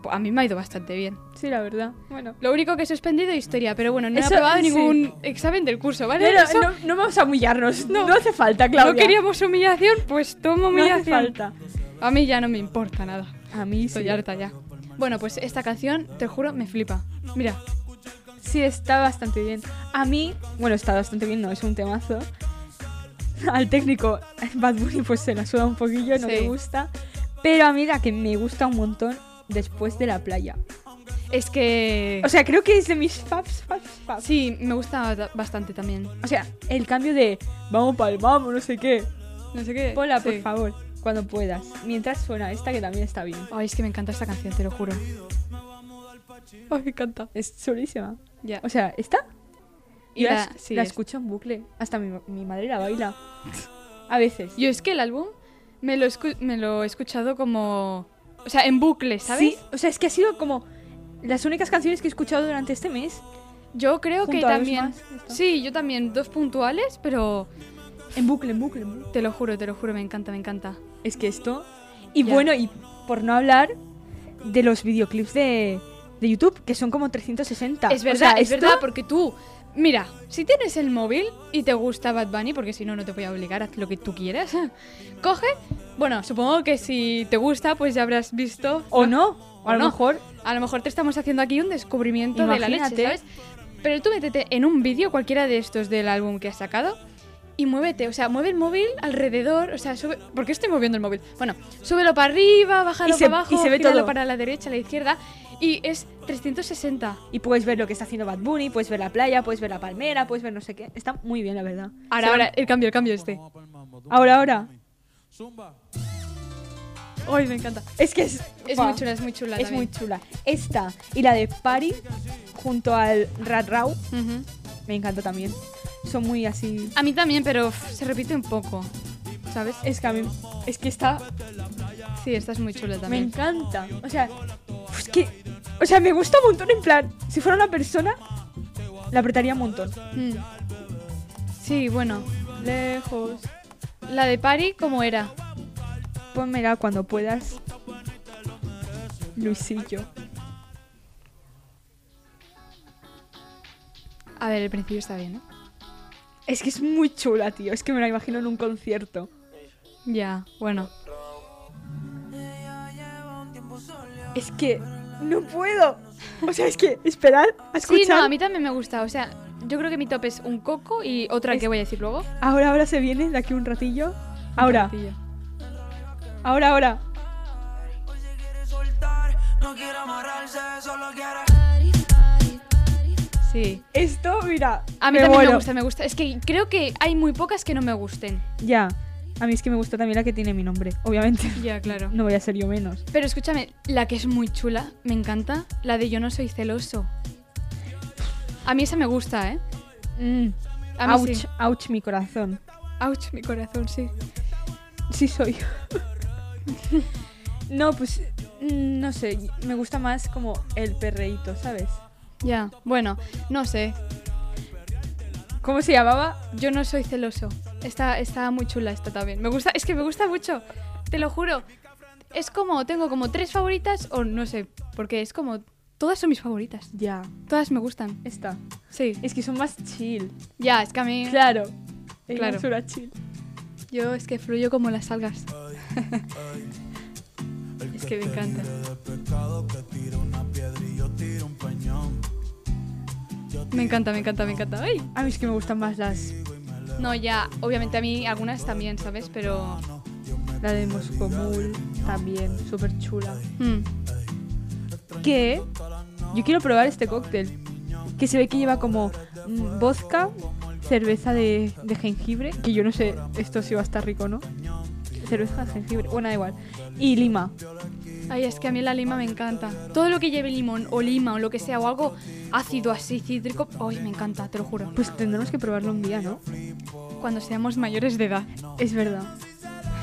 Speaker 2: pues, a mí me ha ido bastante bien.
Speaker 1: Sí, la verdad. Bueno.
Speaker 2: Lo único que he suspendido es historia, pero bueno, no
Speaker 1: Eso-
Speaker 2: he aprobado
Speaker 1: sí.
Speaker 2: ningún examen del curso, ¿vale?
Speaker 1: Pero
Speaker 2: Eso-
Speaker 1: no, no vamos a humillarnos. No, hace falta,
Speaker 2: no
Speaker 1: Claudia.
Speaker 2: queríamos humillación, pues tomo
Speaker 1: No hace
Speaker 2: humillación.
Speaker 1: falta.
Speaker 2: a mí ya no me importa nada.
Speaker 1: A mí sí.
Speaker 2: Estoy harta ya. Bueno, pues esta canción, te juro, me flipa. Mira,
Speaker 1: Sí, está bastante bien. A mí, bueno, está bastante bien, no, es un temazo. Al técnico, Bad Bunny pues se la suda un poquillo, no
Speaker 2: Sí.
Speaker 1: le gusta. Pero a mí la que me gusta un montón, Después de la playa.
Speaker 2: es que...
Speaker 1: O sea, creo que es de mis faps, faps, faps.
Speaker 2: Sí, me gusta ba- bastante también.
Speaker 1: O sea, el cambio de vamos pa'l vamos, no sé qué.
Speaker 2: No sé qué.
Speaker 1: Pola, por
Speaker 2: Sí.
Speaker 1: favor, cuando puedas. Mientras suena esta que también está bien.
Speaker 2: Ay, es que me encanta esta canción, te lo juro. Ay, me encanta.
Speaker 1: Es chulísima.
Speaker 2: Ya.
Speaker 1: O sea, ¿esta?
Speaker 2: Y
Speaker 1: Yo
Speaker 2: la-
Speaker 1: es-
Speaker 2: sí,
Speaker 1: la
Speaker 2: es-
Speaker 1: escucho en bucle. Hasta mi, mi madre la baila. A veces.
Speaker 2: Yo es que el álbum me lo, escu- me lo he escuchado como. O sea, en bucle, ¿sabes?
Speaker 1: Sí, o sea, es que ha sido como las únicas canciones que he escuchado durante este mes.
Speaker 2: Yo creo que
Speaker 1: Junto a dos
Speaker 2: también.
Speaker 1: más, ya está.
Speaker 2: sí, yo también. Dos puntuales, pero.
Speaker 1: En bucle, en bucle, en bucle.
Speaker 2: Te lo juro, te lo juro, me encanta, me encanta.
Speaker 1: Es que esto. Y
Speaker 2: Ya.
Speaker 1: bueno, y por no hablar de los videoclips de, de YouTube, que son como 360.
Speaker 2: es
Speaker 1: O
Speaker 2: verdad,
Speaker 1: sea,
Speaker 2: es
Speaker 1: esto-
Speaker 2: verdad, porque tú. Mira, si tienes el móvil y te gusta Bad Bunny, porque si no, no te voy a obligar, haz lo que tú quieras. Coge. Bueno, supongo que si te gusta, pues ya habrás visto
Speaker 1: O no, o a
Speaker 2: O
Speaker 1: lo
Speaker 2: no.
Speaker 1: mejor.
Speaker 2: A lo mejor te estamos haciendo aquí un descubrimiento de la
Speaker 1: Imagínate.
Speaker 2: leche, ¿sabes? Pero tú métete en un vídeo cualquiera de estos del álbum que has sacado y muévete, o sea, mueve el móvil alrededor, o sea, sube, ¿por qué estoy moviendo el móvil? Bueno, súbelo para arriba, bájalo
Speaker 1: Y se-
Speaker 2: para abajo,
Speaker 1: y se ve
Speaker 2: gíralo
Speaker 1: todo.
Speaker 2: para la derecha, a la izquierda y es 360.
Speaker 1: Y puedes ver lo que está haciendo Bad Bunny, puedes ver la playa, puedes ver la palmera, puedes ver no sé qué. Está muy bien, la verdad.
Speaker 2: Ahora,
Speaker 1: Se
Speaker 2: ahora,
Speaker 1: van-
Speaker 2: el cambio, el cambio este.
Speaker 1: Ahora, ahora.
Speaker 3: Zumba.
Speaker 1: Ay, me encanta. Es que es,
Speaker 2: Es
Speaker 1: Buah.
Speaker 2: muy chula, es muy chula.
Speaker 1: Es muy chula. Esta y la de Pari junto al Rat Rao
Speaker 2: muy
Speaker 1: me encanta también. Son muy así.
Speaker 2: A mí también, pero uf, se repite un poco. ¿Sabes?
Speaker 1: Es que a mí, es que está
Speaker 2: Sí, esta es muy chula
Speaker 1: me
Speaker 2: también.
Speaker 1: encanta. O sea, es que o sea, me gusta un montón en plan, si fuera una persona la apretaría un montón.
Speaker 2: Mm. Sí, bueno.
Speaker 1: Lejos.
Speaker 2: La de Pari, ¿cómo era?
Speaker 1: Pónmela cuando puedas. Luisillo.
Speaker 2: A ver, el principio está bien, ¿eh? ¿no?
Speaker 1: Es que es muy chula, tío. Es que me la imagino en un concierto.
Speaker 2: Ya, bueno.
Speaker 1: Es que no puedo. O sea, es que esperad a escuchar.
Speaker 2: Sí, no, a mí también me gusta. O sea, yo creo que mi top es un coco y otra
Speaker 1: Es-
Speaker 2: que voy a decir luego.
Speaker 1: Ahora, ahora se viene de aquí un ratillo. Ahora,
Speaker 2: Platillo.
Speaker 1: ahora, ahora.
Speaker 2: Sí.
Speaker 1: Esto, mira.
Speaker 2: A mí también me
Speaker 1: muero.
Speaker 2: gusta, me gusta. Es que creo que hay muy pocas que no me gusten.
Speaker 1: Ya. A mí es que me gusta también la que tiene mi nombre, obviamente.
Speaker 2: Ya, claro.
Speaker 1: No voy a ser yo menos.
Speaker 2: Pero escúchame, la que es muy chula, me encanta, la de Yo no soy celoso. A mí esa me gusta, ¿eh?
Speaker 1: Mm.
Speaker 2: A mí
Speaker 1: Ouch,
Speaker 2: sí.
Speaker 1: ouch, mi corazón.
Speaker 2: Ouch, mi corazón, sí.
Speaker 1: Sí soy. no, pues mm, no sé, me gusta más como el perreíto, ¿sabes?
Speaker 2: Ya, bueno, no sé.
Speaker 1: ¿Cómo se llamaba?
Speaker 2: Yo no soy celoso. Está, está muy chula esta también. Me gusta, es que me gusta mucho, te lo juro. Es como, tengo como tres favoritas, o no sé, porque es como, todas son mis favoritas.
Speaker 1: Ya,
Speaker 2: Todas me gustan,
Speaker 1: esta.
Speaker 2: sí.
Speaker 1: Es que son más chill.
Speaker 2: Ya, es que a mí,
Speaker 1: Claro. Es
Speaker 2: Claro.
Speaker 1: basura chill.
Speaker 2: yo es que fluyo como las algas. Es que me encanta. Me encanta, me encanta, me encanta. ¡Ay!
Speaker 1: A mí es que me gustan más las
Speaker 2: No, ya, obviamente a mí algunas también, ¿sabes? Pero...
Speaker 1: La de Moscow Mule, también, súper chula.
Speaker 2: mm,
Speaker 1: Que yo quiero probar este cóctel. Que se ve que lleva como mm, vodka, cerveza de, de jengibre. Que yo no sé esto si va a estar rico o no. Cerveza de jengibre, bueno, da igual. Y lima.
Speaker 2: Ay, es que a mí la lima me encanta. Todo lo que lleve limón o lima o lo que sea o algo ácido así, cítrico, ay, me encanta, te lo juro.
Speaker 1: Pues tendremos que probarlo un día, ¿no?
Speaker 2: Cuando seamos mayores de edad.
Speaker 1: Es verdad.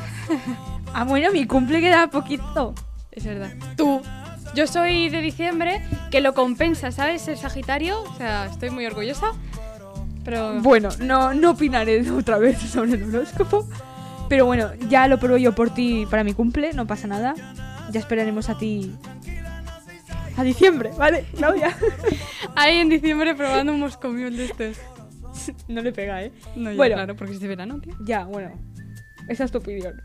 Speaker 1: ah, bueno, mi cumple queda poquito.
Speaker 2: Es verdad. Tú. Yo soy de diciembre, que lo compensa, ¿sabes? El Sagitario. O sea, estoy muy orgullosa. Pero...
Speaker 1: Bueno, no, no opinaré otra vez sobre el horóscopo. Pero bueno, ya lo pruebo yo por ti para mi cumple, no pasa nada. Ya esperaremos a ti. A diciembre, ¿vale? Claudia.
Speaker 2: Ahí en diciembre probando un moscomiol de estos.
Speaker 1: no le pega, ¿eh?
Speaker 2: No, ya,
Speaker 1: Bueno.
Speaker 2: claro, porque es de verano, tío.
Speaker 1: Ya, bueno. Esa es tu opinión.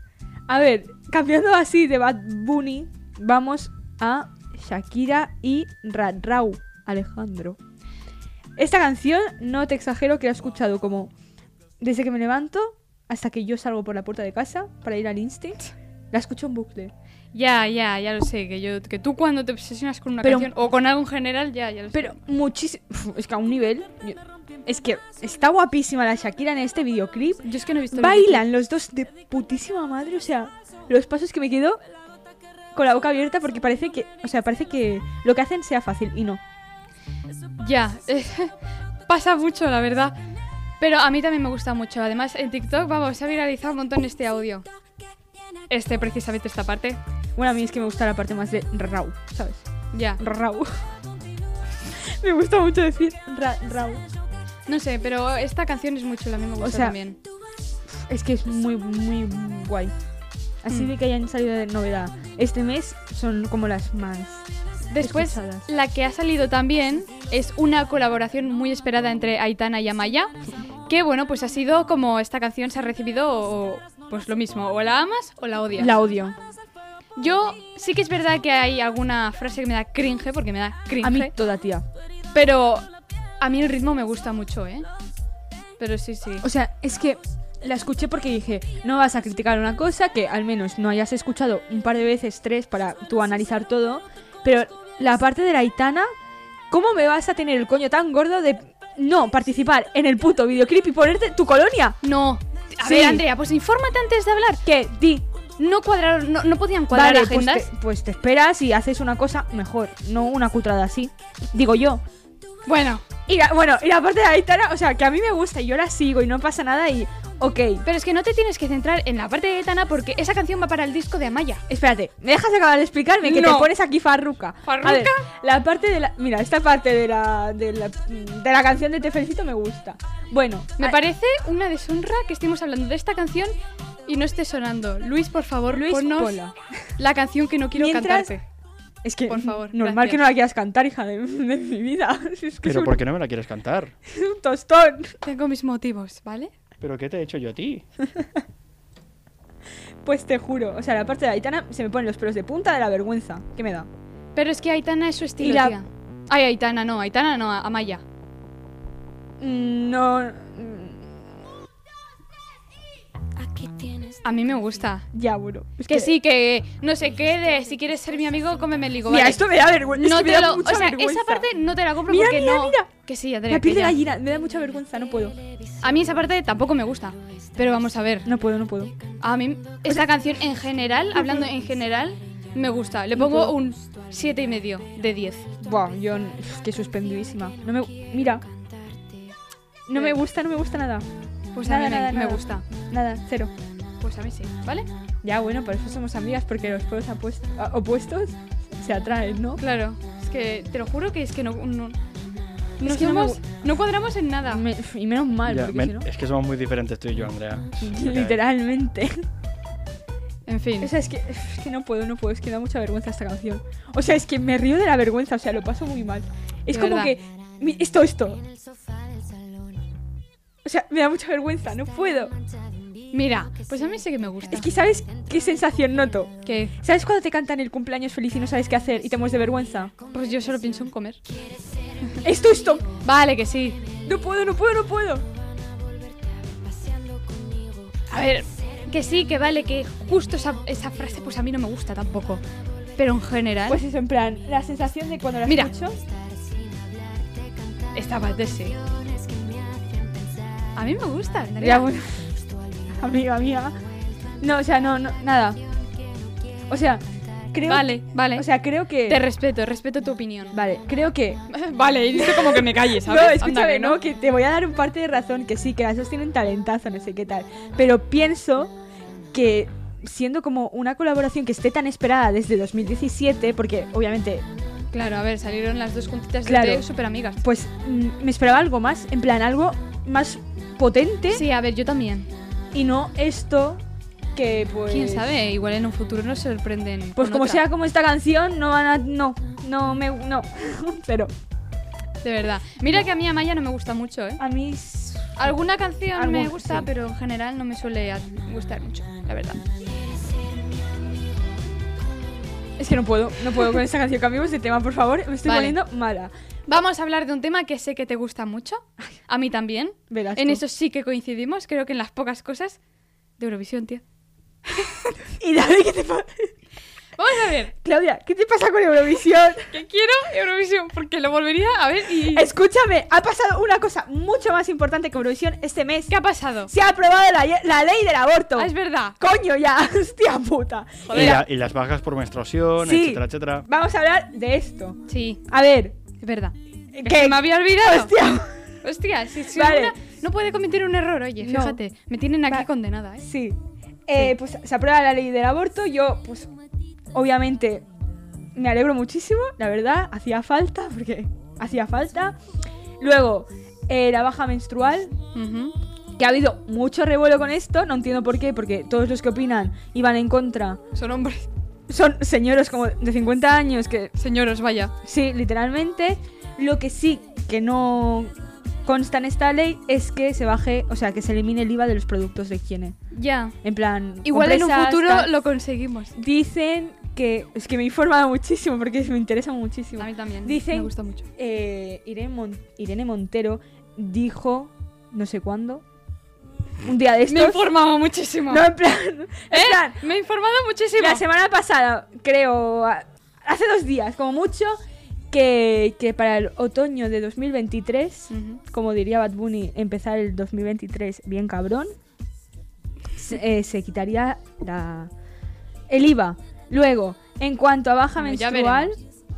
Speaker 1: A ver, cambiando así de Bad Bunny, vamos a Shakira y Rarrau, Alejandro. Esta canción, no te exagero que la he escuchado como desde que me levanto hasta que yo salgo por la puerta de casa para ir al Instinct. La escucho en bucle.
Speaker 2: Ya, ya, ya lo sé. Que, yo, que tú cuando te obsesionas con una
Speaker 1: Pero-
Speaker 2: canción o con algo en general, ya, ya lo sé.
Speaker 1: Pero muchísimo. Es que a un nivel. yo- Es que está guapísima la Shakira en este videoclip.
Speaker 2: Yo es que no he visto... el
Speaker 1: Bailan los dos de putísima madre, o sea, los pasos que me quedo con la boca abierta porque parece que, o sea, parece que lo que hacen sea fácil y no.
Speaker 2: Ya, eh, pasa mucho, la verdad. Pero a mí también me gusta mucho. Además, en TikTok, vamos, se ha viralizado un montón este audio. Este, precisamente esta parte.
Speaker 1: Bueno, a mí es que me gusta la parte más de Rau, ¿sabes?
Speaker 2: Ya.
Speaker 1: Rau. me gusta mucho decir ra- Rau.
Speaker 2: No sé, pero esta canción es muy chula, a mí me gusta
Speaker 1: sea,
Speaker 2: también.
Speaker 1: Es que es muy, muy guay. Así
Speaker 2: Mm.
Speaker 1: de que hayan salido de novedad. Este mes son como las más.
Speaker 2: Después,
Speaker 1: escuchadas.
Speaker 2: la que ha salido también es una colaboración muy esperada entre Aitana y Amaya. Que bueno, pues ha sido como esta canción se ha recibido, o- pues lo mismo, o la amas o la odias.
Speaker 1: La odio.
Speaker 2: Yo sí que es verdad que hay alguna frase que me da cringe, porque me da cringe.
Speaker 1: A mí toda tía.
Speaker 2: Pero a mí el ritmo me gusta mucho, ¿eh? Pero sí, sí.
Speaker 1: O sea, es que la escuché porque dije, no vas a criticar una cosa que al menos no hayas escuchado un par de veces, tres, para tú analizar todo. Pero la parte de la Aitana, ¿cómo me vas a tener el coño tan gordo de no participar en el puto videoclip y ponerte tu colonia?
Speaker 2: No. A
Speaker 1: Sí.
Speaker 2: ver, Andrea, pues infórmate antes de hablar.
Speaker 1: Que di
Speaker 2: no cuadraron, no, no podían cuadrar
Speaker 1: vale, pues
Speaker 2: agendas.
Speaker 1: te, pues te esperas y haces una cosa mejor, no una cutrada así. Digo yo.
Speaker 2: Bueno,
Speaker 1: Y la- bueno, y la parte de Aitana, o sea, que a mí me gusta y yo la sigo y no pasa nada y. Ok,
Speaker 2: pero es que no te tienes que centrar en la parte de Aitana porque esa canción va para el disco de Amaya.
Speaker 1: espérate, ¿me dejas acabar de explicarme que
Speaker 2: No.
Speaker 1: te pones aquí farruca?
Speaker 2: ¿Farruca?
Speaker 1: A ver, la parte de la. Mira, esta parte de la, de la, de la canción de Te Felicito me gusta. Bueno, ah,
Speaker 2: Me
Speaker 1: a-
Speaker 2: parece una deshonra que estemos hablando de esta canción y no esté sonando. Luis, por favor,
Speaker 1: Luis
Speaker 2: ponnos
Speaker 1: Pola.
Speaker 2: la canción que no quiero
Speaker 1: Mientras-
Speaker 2: cantarte.
Speaker 1: Es que.
Speaker 2: Por favor,
Speaker 1: Normal que
Speaker 2: gracias.
Speaker 1: no la quieras cantar, hija de, de mi vida. Es que es
Speaker 4: Pero
Speaker 1: un,
Speaker 4: ¿por qué no me la quieres cantar?
Speaker 1: es un tostón.
Speaker 2: Tengo mis motivos, ¿vale?
Speaker 4: ¿Pero qué te he hecho yo a ti?
Speaker 1: Pues te juro, o sea, la parte de Aitana se me ponen los pelos de punta de la vergüenza. ¿Qué me da?
Speaker 2: Pero es que Aitana es su estilo,
Speaker 1: Y la-
Speaker 2: tía. Ay, Aitana no, Aitana no, Amaya.
Speaker 1: Mm, No. mm,
Speaker 2: A mí me gusta.
Speaker 1: Ya, bueno. Es
Speaker 2: Que sí, que no sé qué, de si quieres ser mi amigo, cómeme el higo.
Speaker 1: Mira,
Speaker 2: vale.
Speaker 1: esto me da vergüenza.
Speaker 2: no
Speaker 1: es que me
Speaker 2: te
Speaker 1: da
Speaker 2: lo, o
Speaker 1: mucha
Speaker 2: sea,
Speaker 1: vergüenza.
Speaker 2: esa parte no te la compro
Speaker 1: Mira,
Speaker 2: porque
Speaker 1: mira,
Speaker 2: no.
Speaker 1: mira.
Speaker 2: Que sí, Andrea,
Speaker 1: La piel
Speaker 2: que
Speaker 1: de
Speaker 2: ya.
Speaker 1: gallina, me da mucha vergüenza, no puedo.
Speaker 2: A mí esa parte tampoco me gusta. Pero vamos a ver.
Speaker 1: No puedo, no puedo.
Speaker 2: A mí esta canción en general, hablando en general, me gusta. Le pongo un siete y medio de 10.
Speaker 1: Buah, yo. n- pf, Qué suspendidísima. No me. Mira. No me gusta, no me gusta nada.
Speaker 2: Pues a
Speaker 1: Nada,
Speaker 2: mí me-
Speaker 1: nada,
Speaker 2: me,
Speaker 1: nada.
Speaker 2: gusta.
Speaker 1: Nada, cero.
Speaker 2: Pues a mí sí, ¿vale?
Speaker 1: Ya, bueno, por eso somos amigas, porque los polos apuest- a- opuestos se atraen, ¿no?
Speaker 2: Claro. Es que te lo juro que es que no no, no
Speaker 1: Es que no me
Speaker 2: somos- no cuadramos en nada.
Speaker 1: Me- pf, y menos mal,
Speaker 4: Ya,
Speaker 1: porque
Speaker 4: men-
Speaker 1: si no.
Speaker 4: Es que somos muy diferentes tú y yo, Andrea.
Speaker 1: Ah,
Speaker 4: Es lo que hay.
Speaker 1: Literalmente.
Speaker 2: En fin.
Speaker 1: O sea, es que, es que no puedo, no puedo, es que da mucha vergüenza esta canción. O sea, es que me río de la vergüenza, o sea, lo paso muy mal. Es
Speaker 2: De
Speaker 1: como
Speaker 2: verdad.
Speaker 1: que... mi- esto, esto. O sea, me da mucha vergüenza, no puedo.
Speaker 2: Mira, pues a mí sí que me gusta.
Speaker 1: Es que sabes qué sensación noto.
Speaker 2: que
Speaker 1: ¿Sabes cuando te cantan el cumpleaños feliz y no sabes qué hacer y te mueres de vergüenza?
Speaker 2: pues yo solo pienso en comer.
Speaker 1: Esto, esto.
Speaker 2: Vale, que sí.
Speaker 1: No puedo, no puedo, no puedo.
Speaker 2: A ver, que sí, que vale, que justo esa, esa frase pues a mí no me gusta tampoco. Pero en general,
Speaker 1: Pues eso, en plan, la sensación de cuando la
Speaker 2: Mira.
Speaker 1: escucho...
Speaker 2: esta parte sí. A mí me gusta. Andrea.
Speaker 1: Ya, bueno. Amiga, amiga. No, o sea, no, no, nada. O sea, creo...
Speaker 2: Vale, vale.
Speaker 1: O sea, creo que...
Speaker 2: te respeto, respeto tu opinión.
Speaker 1: Vale, creo que
Speaker 2: Vale, y dice como que me calles,
Speaker 1: No, escúchame, no, que te voy a dar un parte de razón, que sí, que las dos tienen talentazo, no sé qué tal. Pero pienso que siendo como una colaboración que esté tan esperada desde 2017, porque obviamente,
Speaker 2: Claro, a ver, salieron las dos juntitas
Speaker 1: Claro.
Speaker 2: de super amigas.
Speaker 1: pues mm, me esperaba algo más, en plan, algo más potente
Speaker 2: Sí, a ver, yo también.
Speaker 1: y no esto que pues...
Speaker 2: Quién sabe, igual en un futuro nos sorprenden.
Speaker 1: Pues
Speaker 2: con
Speaker 1: como
Speaker 2: otra.
Speaker 1: sea como esta canción, no van a... No, no, me... No, pero
Speaker 2: De verdad. Mira que a mí Amaya no me gusta mucho, ¿eh?
Speaker 1: a mí... s-
Speaker 2: Alguna canción me
Speaker 1: Algún-
Speaker 2: gusta,
Speaker 1: sí.
Speaker 2: pero en general no me suele a- gustar mucho, la verdad.
Speaker 1: Es que no puedo, no puedo con esta canción. Cambiemos de este tema, por favor. Me estoy
Speaker 2: Vale.
Speaker 1: poniendo mala.
Speaker 2: Vamos a hablar de un tema que sé que te gusta mucho, a mí también.
Speaker 1: Verás
Speaker 2: En
Speaker 1: tú.
Speaker 2: eso sí que coincidimos, creo que en las pocas cosas de Eurovisión, tío.
Speaker 1: Y dale, ¿qué te pasa?
Speaker 2: Vamos a ver,
Speaker 1: Claudia, ¿qué te pasa con Eurovisión?
Speaker 2: que quiero Eurovisión, porque lo volvería a ver y...
Speaker 1: Escúchame, ha pasado una cosa mucho más importante que Eurovisión este mes.
Speaker 2: ¿Qué ha pasado?
Speaker 1: Se ha aprobado la, ye- la ley del aborto.
Speaker 2: Ah, es verdad.
Speaker 1: Coño, ya, hostia puta.
Speaker 4: Y, la- y las bajas por menstruación,
Speaker 1: Sí.
Speaker 4: etcétera, etcétera.
Speaker 1: Vamos a hablar de esto.
Speaker 2: Sí,
Speaker 1: A ver,
Speaker 2: es verdad.
Speaker 1: ¿qué?
Speaker 2: Que me había olvidado.
Speaker 1: Hostia.
Speaker 2: Hostia, si, si
Speaker 1: Vale.
Speaker 2: una- no puede cometer un error, oye,
Speaker 1: No.
Speaker 2: fíjate, me tienen aquí
Speaker 1: Va-
Speaker 2: condenada, ¿eh?
Speaker 1: Sí. Eh, Pues se aprueba la ley del aborto. Yo, pues, obviamente, me alegro muchísimo, la verdad. Hacía falta, porque hacía falta. Luego, eh, la baja menstrual,
Speaker 2: Ujú.
Speaker 1: que ha habido mucho revuelo con esto, no entiendo por qué, porque todos los que opinan y van en contra
Speaker 2: Son hombres,
Speaker 1: son señores como de 50 años que,
Speaker 2: señoros, vaya.
Speaker 1: sí, literalmente, lo que sí que no consta en esta ley es que se baje, o sea, que se elimine el IVA de los productos de higiene.
Speaker 2: Ya.
Speaker 1: En plan,
Speaker 2: Igual en un
Speaker 1: compresas,
Speaker 2: futuro
Speaker 1: tal.
Speaker 2: lo conseguimos.
Speaker 1: dicen que es que me he informado muchísimo porque me interesa muchísimo.
Speaker 2: A mí también.
Speaker 1: Dicen-
Speaker 2: Me gusta mucho.
Speaker 1: Eh, Irene, Mon- Irene Montero dijo no sé cuándo un día de
Speaker 2: Me he
Speaker 1: estos
Speaker 2: informado muchísimo.
Speaker 1: no en plan, en
Speaker 2: ¿Eh?
Speaker 1: plan,
Speaker 2: Me he informado muchísimo.
Speaker 1: La semana pasada, creo, a- hace dos días, como mucho, que, que para el otoño de 2023,
Speaker 2: Ujú.
Speaker 1: como diría Bad Bunny, empezar el 2023 bien cabrón, se, eh, se quitaría la, el IVA. Luego, en cuanto a baja
Speaker 2: Bueno, ya
Speaker 1: menstrual,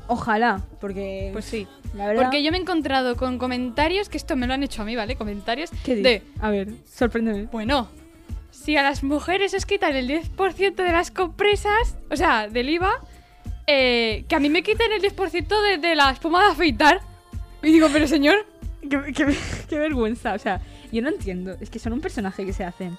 Speaker 1: ojalá, porque
Speaker 2: Pues sí.
Speaker 1: la verdad...
Speaker 2: Porque yo me he encontrado con comentarios, que esto me lo han hecho a mí, ¿vale? Comentarios
Speaker 1: ¿Qué
Speaker 2: de,
Speaker 1: dices? A ver, sorpréndeme.
Speaker 2: bueno, si a las mujeres os quitan el 10% de las compresas, o sea, del IVA, eh, que a mí me quiten el 10% de, de la espuma de afeitar. Y digo, pero señor,
Speaker 1: Qué, qué- qué vergüenza, o sea, yo no entiendo. Es que son un personaje que se hacen.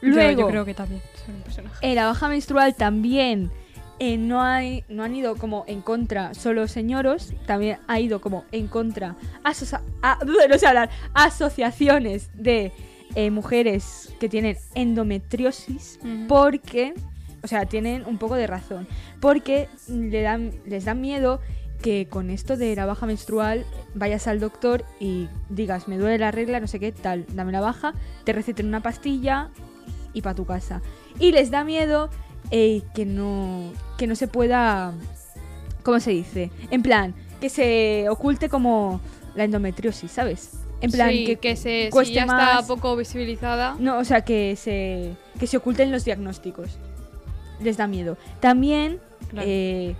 Speaker 2: yo-
Speaker 1: Luego,
Speaker 2: Yo, creo que también soy un personaje.
Speaker 1: en Eh, la baja menstrual también eh, no, hay, no han ido como en contra solo señoros, también ha ido como en contra asocia- a- no sé hablar, asociaciones de eh, mujeres que tienen endometriosis
Speaker 2: Ujú.
Speaker 1: porque, o sea, tienen un poco de razón, porque le dan, les dan miedo que con esto de la baja menstrual vayas al doctor y digas, me duele la regla, no sé qué, tal, dame la baja, te receten una pastilla y para tu casa. Y les da miedo eh, que, no, que no se pueda, ¿cómo se dice? En plan, que se oculte como la endometriosis, ¿sabes? En plan,
Speaker 2: Sí,
Speaker 1: que,
Speaker 2: se, si
Speaker 1: cueste
Speaker 2: ya
Speaker 1: más.
Speaker 2: está poco visibilizada.
Speaker 1: no, o sea, que se, que se oculten los diagnósticos. Les da miedo. También
Speaker 2: Claro.
Speaker 1: eh,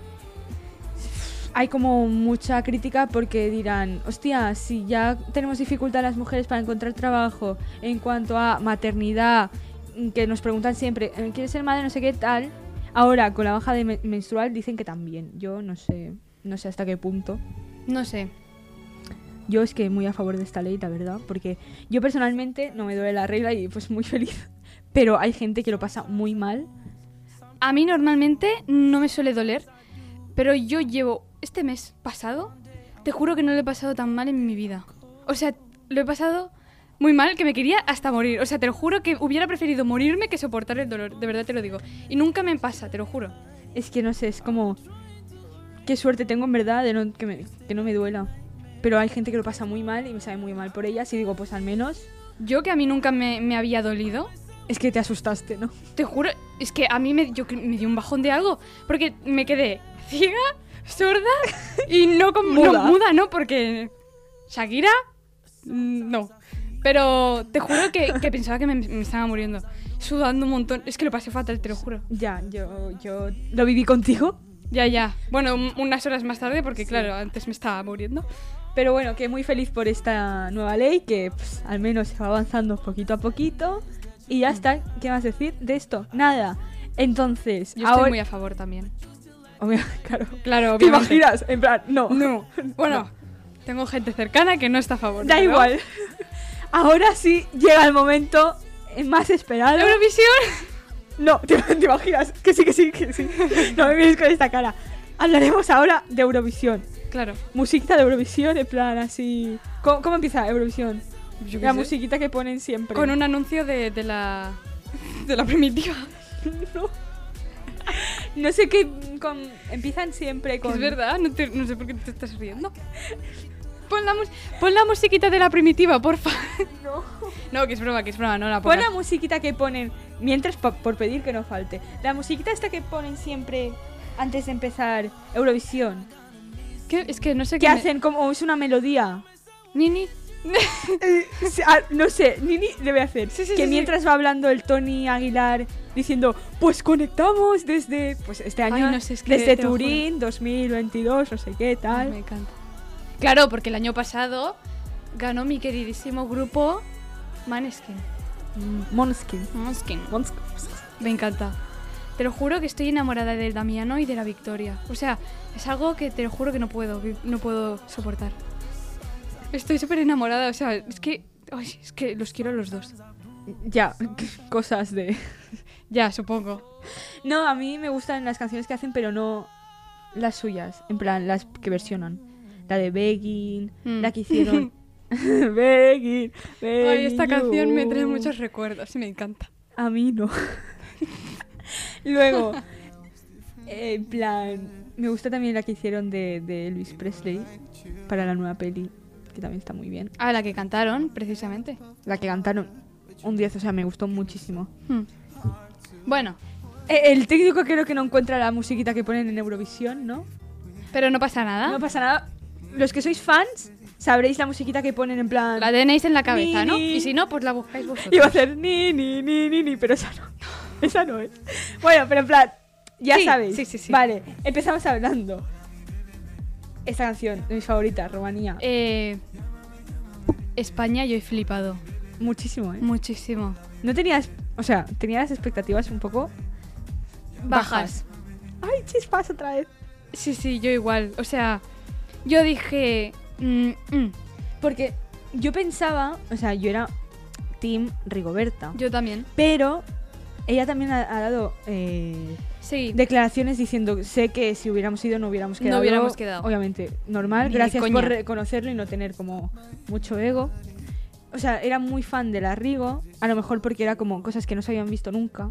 Speaker 1: hay como mucha crítica porque dirán, hostia, si ya tenemos dificultad las mujeres para encontrar trabajo en cuanto a maternidad, mm, que nos preguntan siempre, "Eh, ¿quieres ser madre? No sé qué tal. Ahora, con la baja de men- menstrual dicen que también. Yo no sé, no sé hasta qué punto.
Speaker 2: No sé.
Speaker 1: Yo es que muy a favor de esta ley, la verdad, porque yo personalmente no me duele la regla y pues muy feliz. Pero hay gente que lo pasa muy mal.
Speaker 2: A mí normalmente no me suele doler, pero yo llevo este mes pasado, te juro que no lo he pasado tan mal en mi vida. O sea, lo he pasado muy mal que me quería hasta morir. O sea, te lo juro que hubiera preferido morirme que soportar el dolor, de verdad te lo digo. Y nunca me pasa, te lo juro.
Speaker 1: Es que no sé, es como... Qué suerte tengo en verdad de no, que, me- que no me duela. Pero hay gente que lo pasa muy mal y me sabe muy mal por ellas y digo, pues al menos
Speaker 2: Yo que a mí nunca me, me había dolido,
Speaker 1: es que te asustaste, ¿no?
Speaker 2: te juro, es que a mí me, yo, cre- me dio un bajón de algo, porque me quedé ciega, sorda y no con no,
Speaker 1: Muda.
Speaker 2: muda, ¿no? Porque Shakira, mm, no. Pero te juro que, que pensaba que me, me estaba muriendo, sudando un montón. Es que lo pasé fatal, te lo juro.
Speaker 1: Ya, yo, yo lo viví contigo.
Speaker 2: Ya, ya. Bueno, un- unas horas más tarde, porque claro, antes me estaba muriendo.
Speaker 1: Pero bueno, que muy feliz por esta nueva ley que pues, al menos se va avanzando poquito a poquito. Y ya está, ¿qué más decir de esto? Nada. Entonces,
Speaker 2: Yo
Speaker 1: ahora...
Speaker 2: estoy muy a favor también.
Speaker 1: Obvio- claro.
Speaker 2: Claro,
Speaker 1: Ah, ¿Te
Speaker 2: obviamente.
Speaker 1: imaginas? En plan, no.
Speaker 2: No. Bueno, tengo gente cercana que no está a favor.
Speaker 1: Da
Speaker 2: pero-
Speaker 1: igual. Ahora sí llega el momento más esperado.
Speaker 2: Eurovisión.
Speaker 1: No, te, te imaginas. Que sí, que sí, que sí. No me mires con esta cara. Hablaremos ahora de Eurovisión.
Speaker 2: Claro.
Speaker 1: Musiquita de Eurovisión, en plan así. ¿Cómo, cómo empieza Eurovisión?
Speaker 2: Yo qué
Speaker 1: La
Speaker 2: sé.
Speaker 1: musiquita que ponen siempre.
Speaker 2: Con un anuncio de, de la. de la primitiva.
Speaker 1: No. No sé qué. Con, empiezan siempre con.
Speaker 2: Es verdad, no, te- no sé por qué te estás riendo. Pon la, mus- pon la musiquita de la primitiva, porfa.
Speaker 1: No.
Speaker 2: No, que es broma, que es broma, no la
Speaker 1: Pon la
Speaker 2: pongas.
Speaker 1: musiquita que ponen, mientras po- por pedir que no falte, la musiquita esta que ponen siempre antes de empezar Eurovisión,
Speaker 2: ¿Qué? Es que no sé
Speaker 1: que
Speaker 2: qué. me-
Speaker 1: hacen como es una melodía.
Speaker 2: Nini.
Speaker 1: Eh, sí, ah, no sé, Nini debe hacer.
Speaker 2: Sí, sí,
Speaker 1: que
Speaker 2: sí,
Speaker 1: mientras va hablando el Tony Aguilar diciendo, pues conectamos desde pues este
Speaker 2: Ay,
Speaker 1: año,
Speaker 2: no sé, es que
Speaker 1: desde
Speaker 2: te lo juro.
Speaker 1: Turín 2022, no sé qué
Speaker 2: Ay,
Speaker 1: tal.
Speaker 2: me encanta. Claro, porque el año pasado ganó mi queridísimo grupo Maneskin.
Speaker 1: Mm, Måneskin.
Speaker 2: Maneskin.
Speaker 1: Måneskin.
Speaker 2: Me encanta. Te lo juro que estoy enamorada del Damiano y de la Victoria. O sea, es algo que te lo juro que no puedo, vi- no puedo soportar. Estoy súper enamorada, o sea, es que, ay, es que los quiero a los dos.
Speaker 1: Ya, cosas de
Speaker 2: Ya, supongo.
Speaker 1: No, a mí me gustan las canciones que hacen, pero no las suyas. En plan, las que versionan. La de Begging,
Speaker 2: Mm.
Speaker 1: la que hicieron. begging,
Speaker 2: Ay, esta
Speaker 1: begging
Speaker 2: canción me
Speaker 1: you.
Speaker 2: trae muchos recuerdos y me encanta.
Speaker 1: A mí no. Luego, eh, en plan, me gusta también la que hicieron de, de Elvis Presley para la nueva peli, que también está muy bien.
Speaker 2: Ah, la que cantaron, precisamente.
Speaker 1: La que cantaron un 10, o sea, me gustó muchísimo.
Speaker 2: Hmm. Bueno,
Speaker 1: Eh, El técnico creo que no encuentra la musiquita que ponen en Eurovisión, ¿no?
Speaker 2: pero no pasa nada.
Speaker 1: No pasa nada. Los que sois fans sabréis la musiquita que ponen en plan.
Speaker 2: la tenéis en la cabeza, ¿no?
Speaker 1: Nini.
Speaker 2: Y si no, pues la buscáis vosotros.
Speaker 1: Iba a hacer ni, ni, ni, ni, ni, pero esa no. Esa no es. Bueno, pero en plan, Ya
Speaker 2: Sí,
Speaker 1: sabéis.
Speaker 2: sí, sí, sí.
Speaker 1: Vale, empezamos hablando. Esta canción, de mis favoritas, Rumanía.
Speaker 2: Eh, España yo he flipado
Speaker 1: Muchísimo, ¿eh?
Speaker 2: muchísimo.
Speaker 1: No tenías. O sea, tenía las expectativas un poco
Speaker 2: Bajas.
Speaker 1: bajas. Ay, chispas otra vez.
Speaker 2: Sí, sí, yo igual. O sea, yo dije... mm, mm,
Speaker 1: Porque yo pensaba. O sea, yo era Team Rigoberta.
Speaker 2: yo también.
Speaker 1: Pero ella también ha, ha dado eh,
Speaker 2: Sí.
Speaker 1: declaraciones diciendo: Sé que si hubiéramos ido no hubiéramos
Speaker 2: No
Speaker 1: quedado.
Speaker 2: hubiéramos quedado.
Speaker 1: Obviamente, normal.
Speaker 2: Ni de
Speaker 1: gracias por
Speaker 2: coña.
Speaker 1: reconocerlo y no tener como mucho ego. O sea, era muy fan de la Rigo. A lo mejor porque era como cosas que no se habían visto nunca.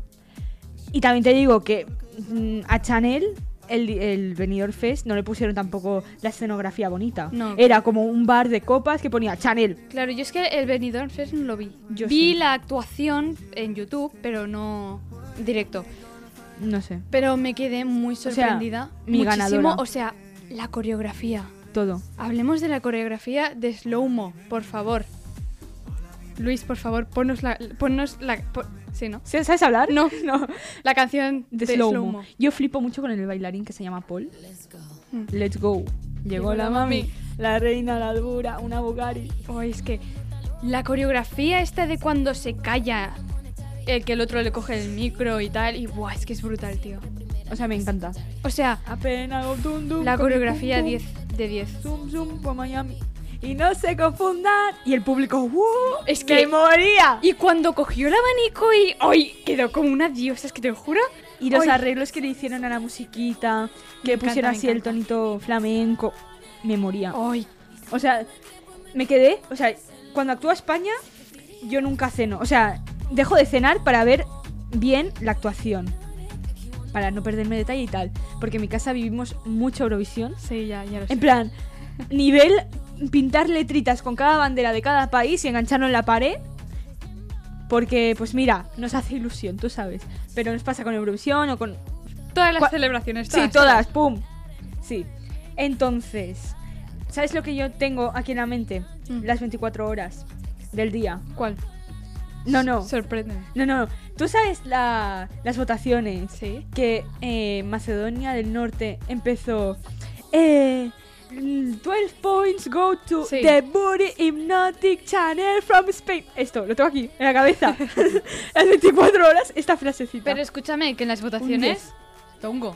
Speaker 1: Y también te digo que mm, a Chanel. El, el Benidorm Fest no le pusieron tampoco la escenografía bonita.
Speaker 2: No.
Speaker 1: Era como un bar de copas que ponía Chanel.
Speaker 2: Claro, yo es que el Benidorm Fest no lo vi.
Speaker 1: Yo sí.
Speaker 2: vi la actuación en YouTube, pero no directo.
Speaker 1: No sé,
Speaker 2: Pero me quedé muy
Speaker 1: sea,
Speaker 2: sorprendida.
Speaker 1: mi
Speaker 2: Muchísimo,
Speaker 1: ganadora.
Speaker 2: O sea, la coreografía.
Speaker 1: todo.
Speaker 2: Hablemos de la coreografía de Slow Mo, por favor. Luis, por favor, ponnos la... Ponnos la po- sí, ¿no?
Speaker 1: ¿Sí- ¿Sabes hablar?
Speaker 2: No, no. La canción
Speaker 1: de,
Speaker 2: de,
Speaker 1: slow,
Speaker 2: Slow
Speaker 1: -mo. Yo flipo mucho con el bailarín que se llama Paul.
Speaker 2: Mm.
Speaker 1: Let's go. Llegó la mami, la reina, la dura, una Bugari.
Speaker 2: Oh, es que la coreografía esta de cuando se calla, el que el otro le coge el micro y tal, y buah, es que es brutal, tío.
Speaker 1: O sea, me encanta.
Speaker 2: O sea,
Speaker 1: Apenas
Speaker 2: la coreografía 10 de 10.
Speaker 1: Zoom, zoom, por Miami. Y no se confundan. Y el público, ¡wow!
Speaker 2: Es
Speaker 1: ¡Me
Speaker 2: que-
Speaker 1: moría!
Speaker 2: Y cuando cogió el abanico y ¡ay! quedó como una diosa, es que te lo juro.
Speaker 1: Y los
Speaker 2: Ay.
Speaker 1: arreglos que le hicieron a la musiquita, que
Speaker 2: encanta,
Speaker 1: pusieron
Speaker 2: me
Speaker 1: así el
Speaker 2: encanta.
Speaker 1: tonito flamenco. Me moría.
Speaker 2: ¡Ay!
Speaker 1: O sea, me quedé. O sea, cuando actúa España, yo nunca ceno. O sea, dejo de cenar para ver bien la actuación. Para no perderme detalle y tal. Porque en mi casa vivimos mucha Eurovisión.
Speaker 2: Sí, ya, ya lo sé.
Speaker 1: En plan, nivel pintar letritas con cada bandera de cada país y engancharlo en la pared. Porque, pues mira, nos hace ilusión, tú sabes. Pero nos pasa con Eurovisión o con
Speaker 2: todas las
Speaker 1: cua-
Speaker 2: celebraciones,
Speaker 1: Sí, todas, pum. Sí. Entonces, ¿sabes lo que yo tengo aquí en la mente?
Speaker 2: Mm.
Speaker 1: Las 24 horas del día.
Speaker 2: ¿Cuál?
Speaker 1: No, no.
Speaker 2: Sorpréndeme.
Speaker 1: No, no. Tú sabes la- las votaciones.
Speaker 2: Sí.
Speaker 1: Que eh, Macedonia del Norte empezó. Eh, mm, 12 points go to
Speaker 2: Sí.
Speaker 1: the booty hypnotic channel from Spain. Esto, lo tengo aquí, en la cabeza. las 24 horas, esta frasecita.
Speaker 2: Pero escúchame, que en las votaciones. Tongo.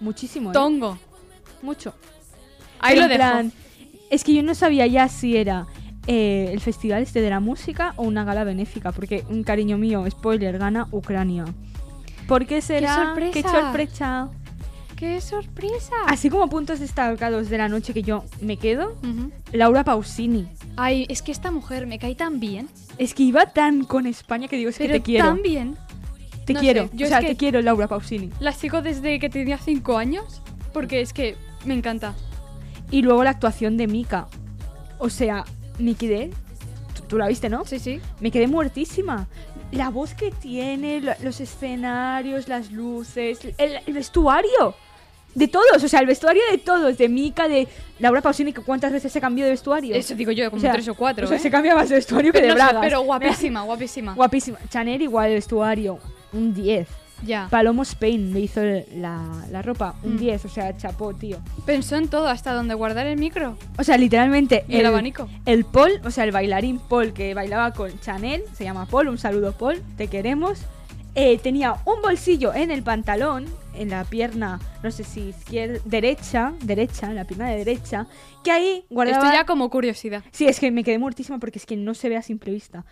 Speaker 1: Muchísimo. ¿eh?
Speaker 2: Tongo.
Speaker 1: Mucho.
Speaker 2: Ahí
Speaker 1: Pero
Speaker 2: lo
Speaker 1: en
Speaker 2: dejo.
Speaker 1: plan, es que yo no sabía ya si era eh, el festival este de la música o una gala benéfica, porque un cariño mío, spoiler, gana Ucrania. ¿Por qué será?
Speaker 2: sorpresa! Ah.
Speaker 1: ¡Qué sorpresa!
Speaker 2: ¡Qué sorpresa!
Speaker 1: Así como puntos destacados de la noche que yo me quedo,
Speaker 2: Ujú.
Speaker 1: Laura Pausini.
Speaker 2: Ay, es que esta mujer me cae tan bien.
Speaker 1: Es que iba tan con España que digo, es
Speaker 2: pero
Speaker 1: que te quiero.
Speaker 2: tan bien.
Speaker 1: Te
Speaker 2: no
Speaker 1: quiero.
Speaker 2: sé, yo
Speaker 1: o
Speaker 2: es
Speaker 1: sea,
Speaker 2: que-
Speaker 1: te quiero, Laura Pausini.
Speaker 2: La sigo desde que tenía 5 años. Porque es que me encanta.
Speaker 1: Y luego la actuación de Mika. O sea, me quedé. Tú- Tú la viste, ¿no?
Speaker 2: Sí, sí.
Speaker 1: Me quedé muertísima. La voz que tiene, lo- los escenarios, las luces, el, el vestuario. De todos, o sea, el vestuario de todos. De Mika, de Laura Pausini, que cuántas veces se cambió de vestuario.
Speaker 2: Eso digo yo, como
Speaker 1: O sea,
Speaker 2: tres o cuatro.
Speaker 1: o sea,
Speaker 2: ¿eh?
Speaker 1: se cambia más de vestuario que
Speaker 2: pero,
Speaker 1: de
Speaker 2: no sé,
Speaker 1: bragas.
Speaker 2: pero guapísima, guapísima.
Speaker 1: Guapísima. Chanel igual el vestuario, un 10.
Speaker 2: ya.
Speaker 1: Palomo Spain le hizo el- la, la ropa, un
Speaker 2: Mm.
Speaker 1: 10. O sea, chapó, tío.
Speaker 2: Pensó en todo, hasta donde guardar el micro
Speaker 1: O sea, literalmente.
Speaker 2: y el, abanico.
Speaker 1: El Paul, o sea, el bailarín Paul que bailaba con Chanel, se llama Paul, un saludo Paul, te queremos. eh, tenía un bolsillo en el pantalón, en la pierna, no sé si izquierda, derecha, derecha, en la pierna de derecha, que ahí guardaba...
Speaker 2: Esto ya como curiosidad.
Speaker 1: Sí, es que me quedé muertísima porque es que no se ve a simple vista.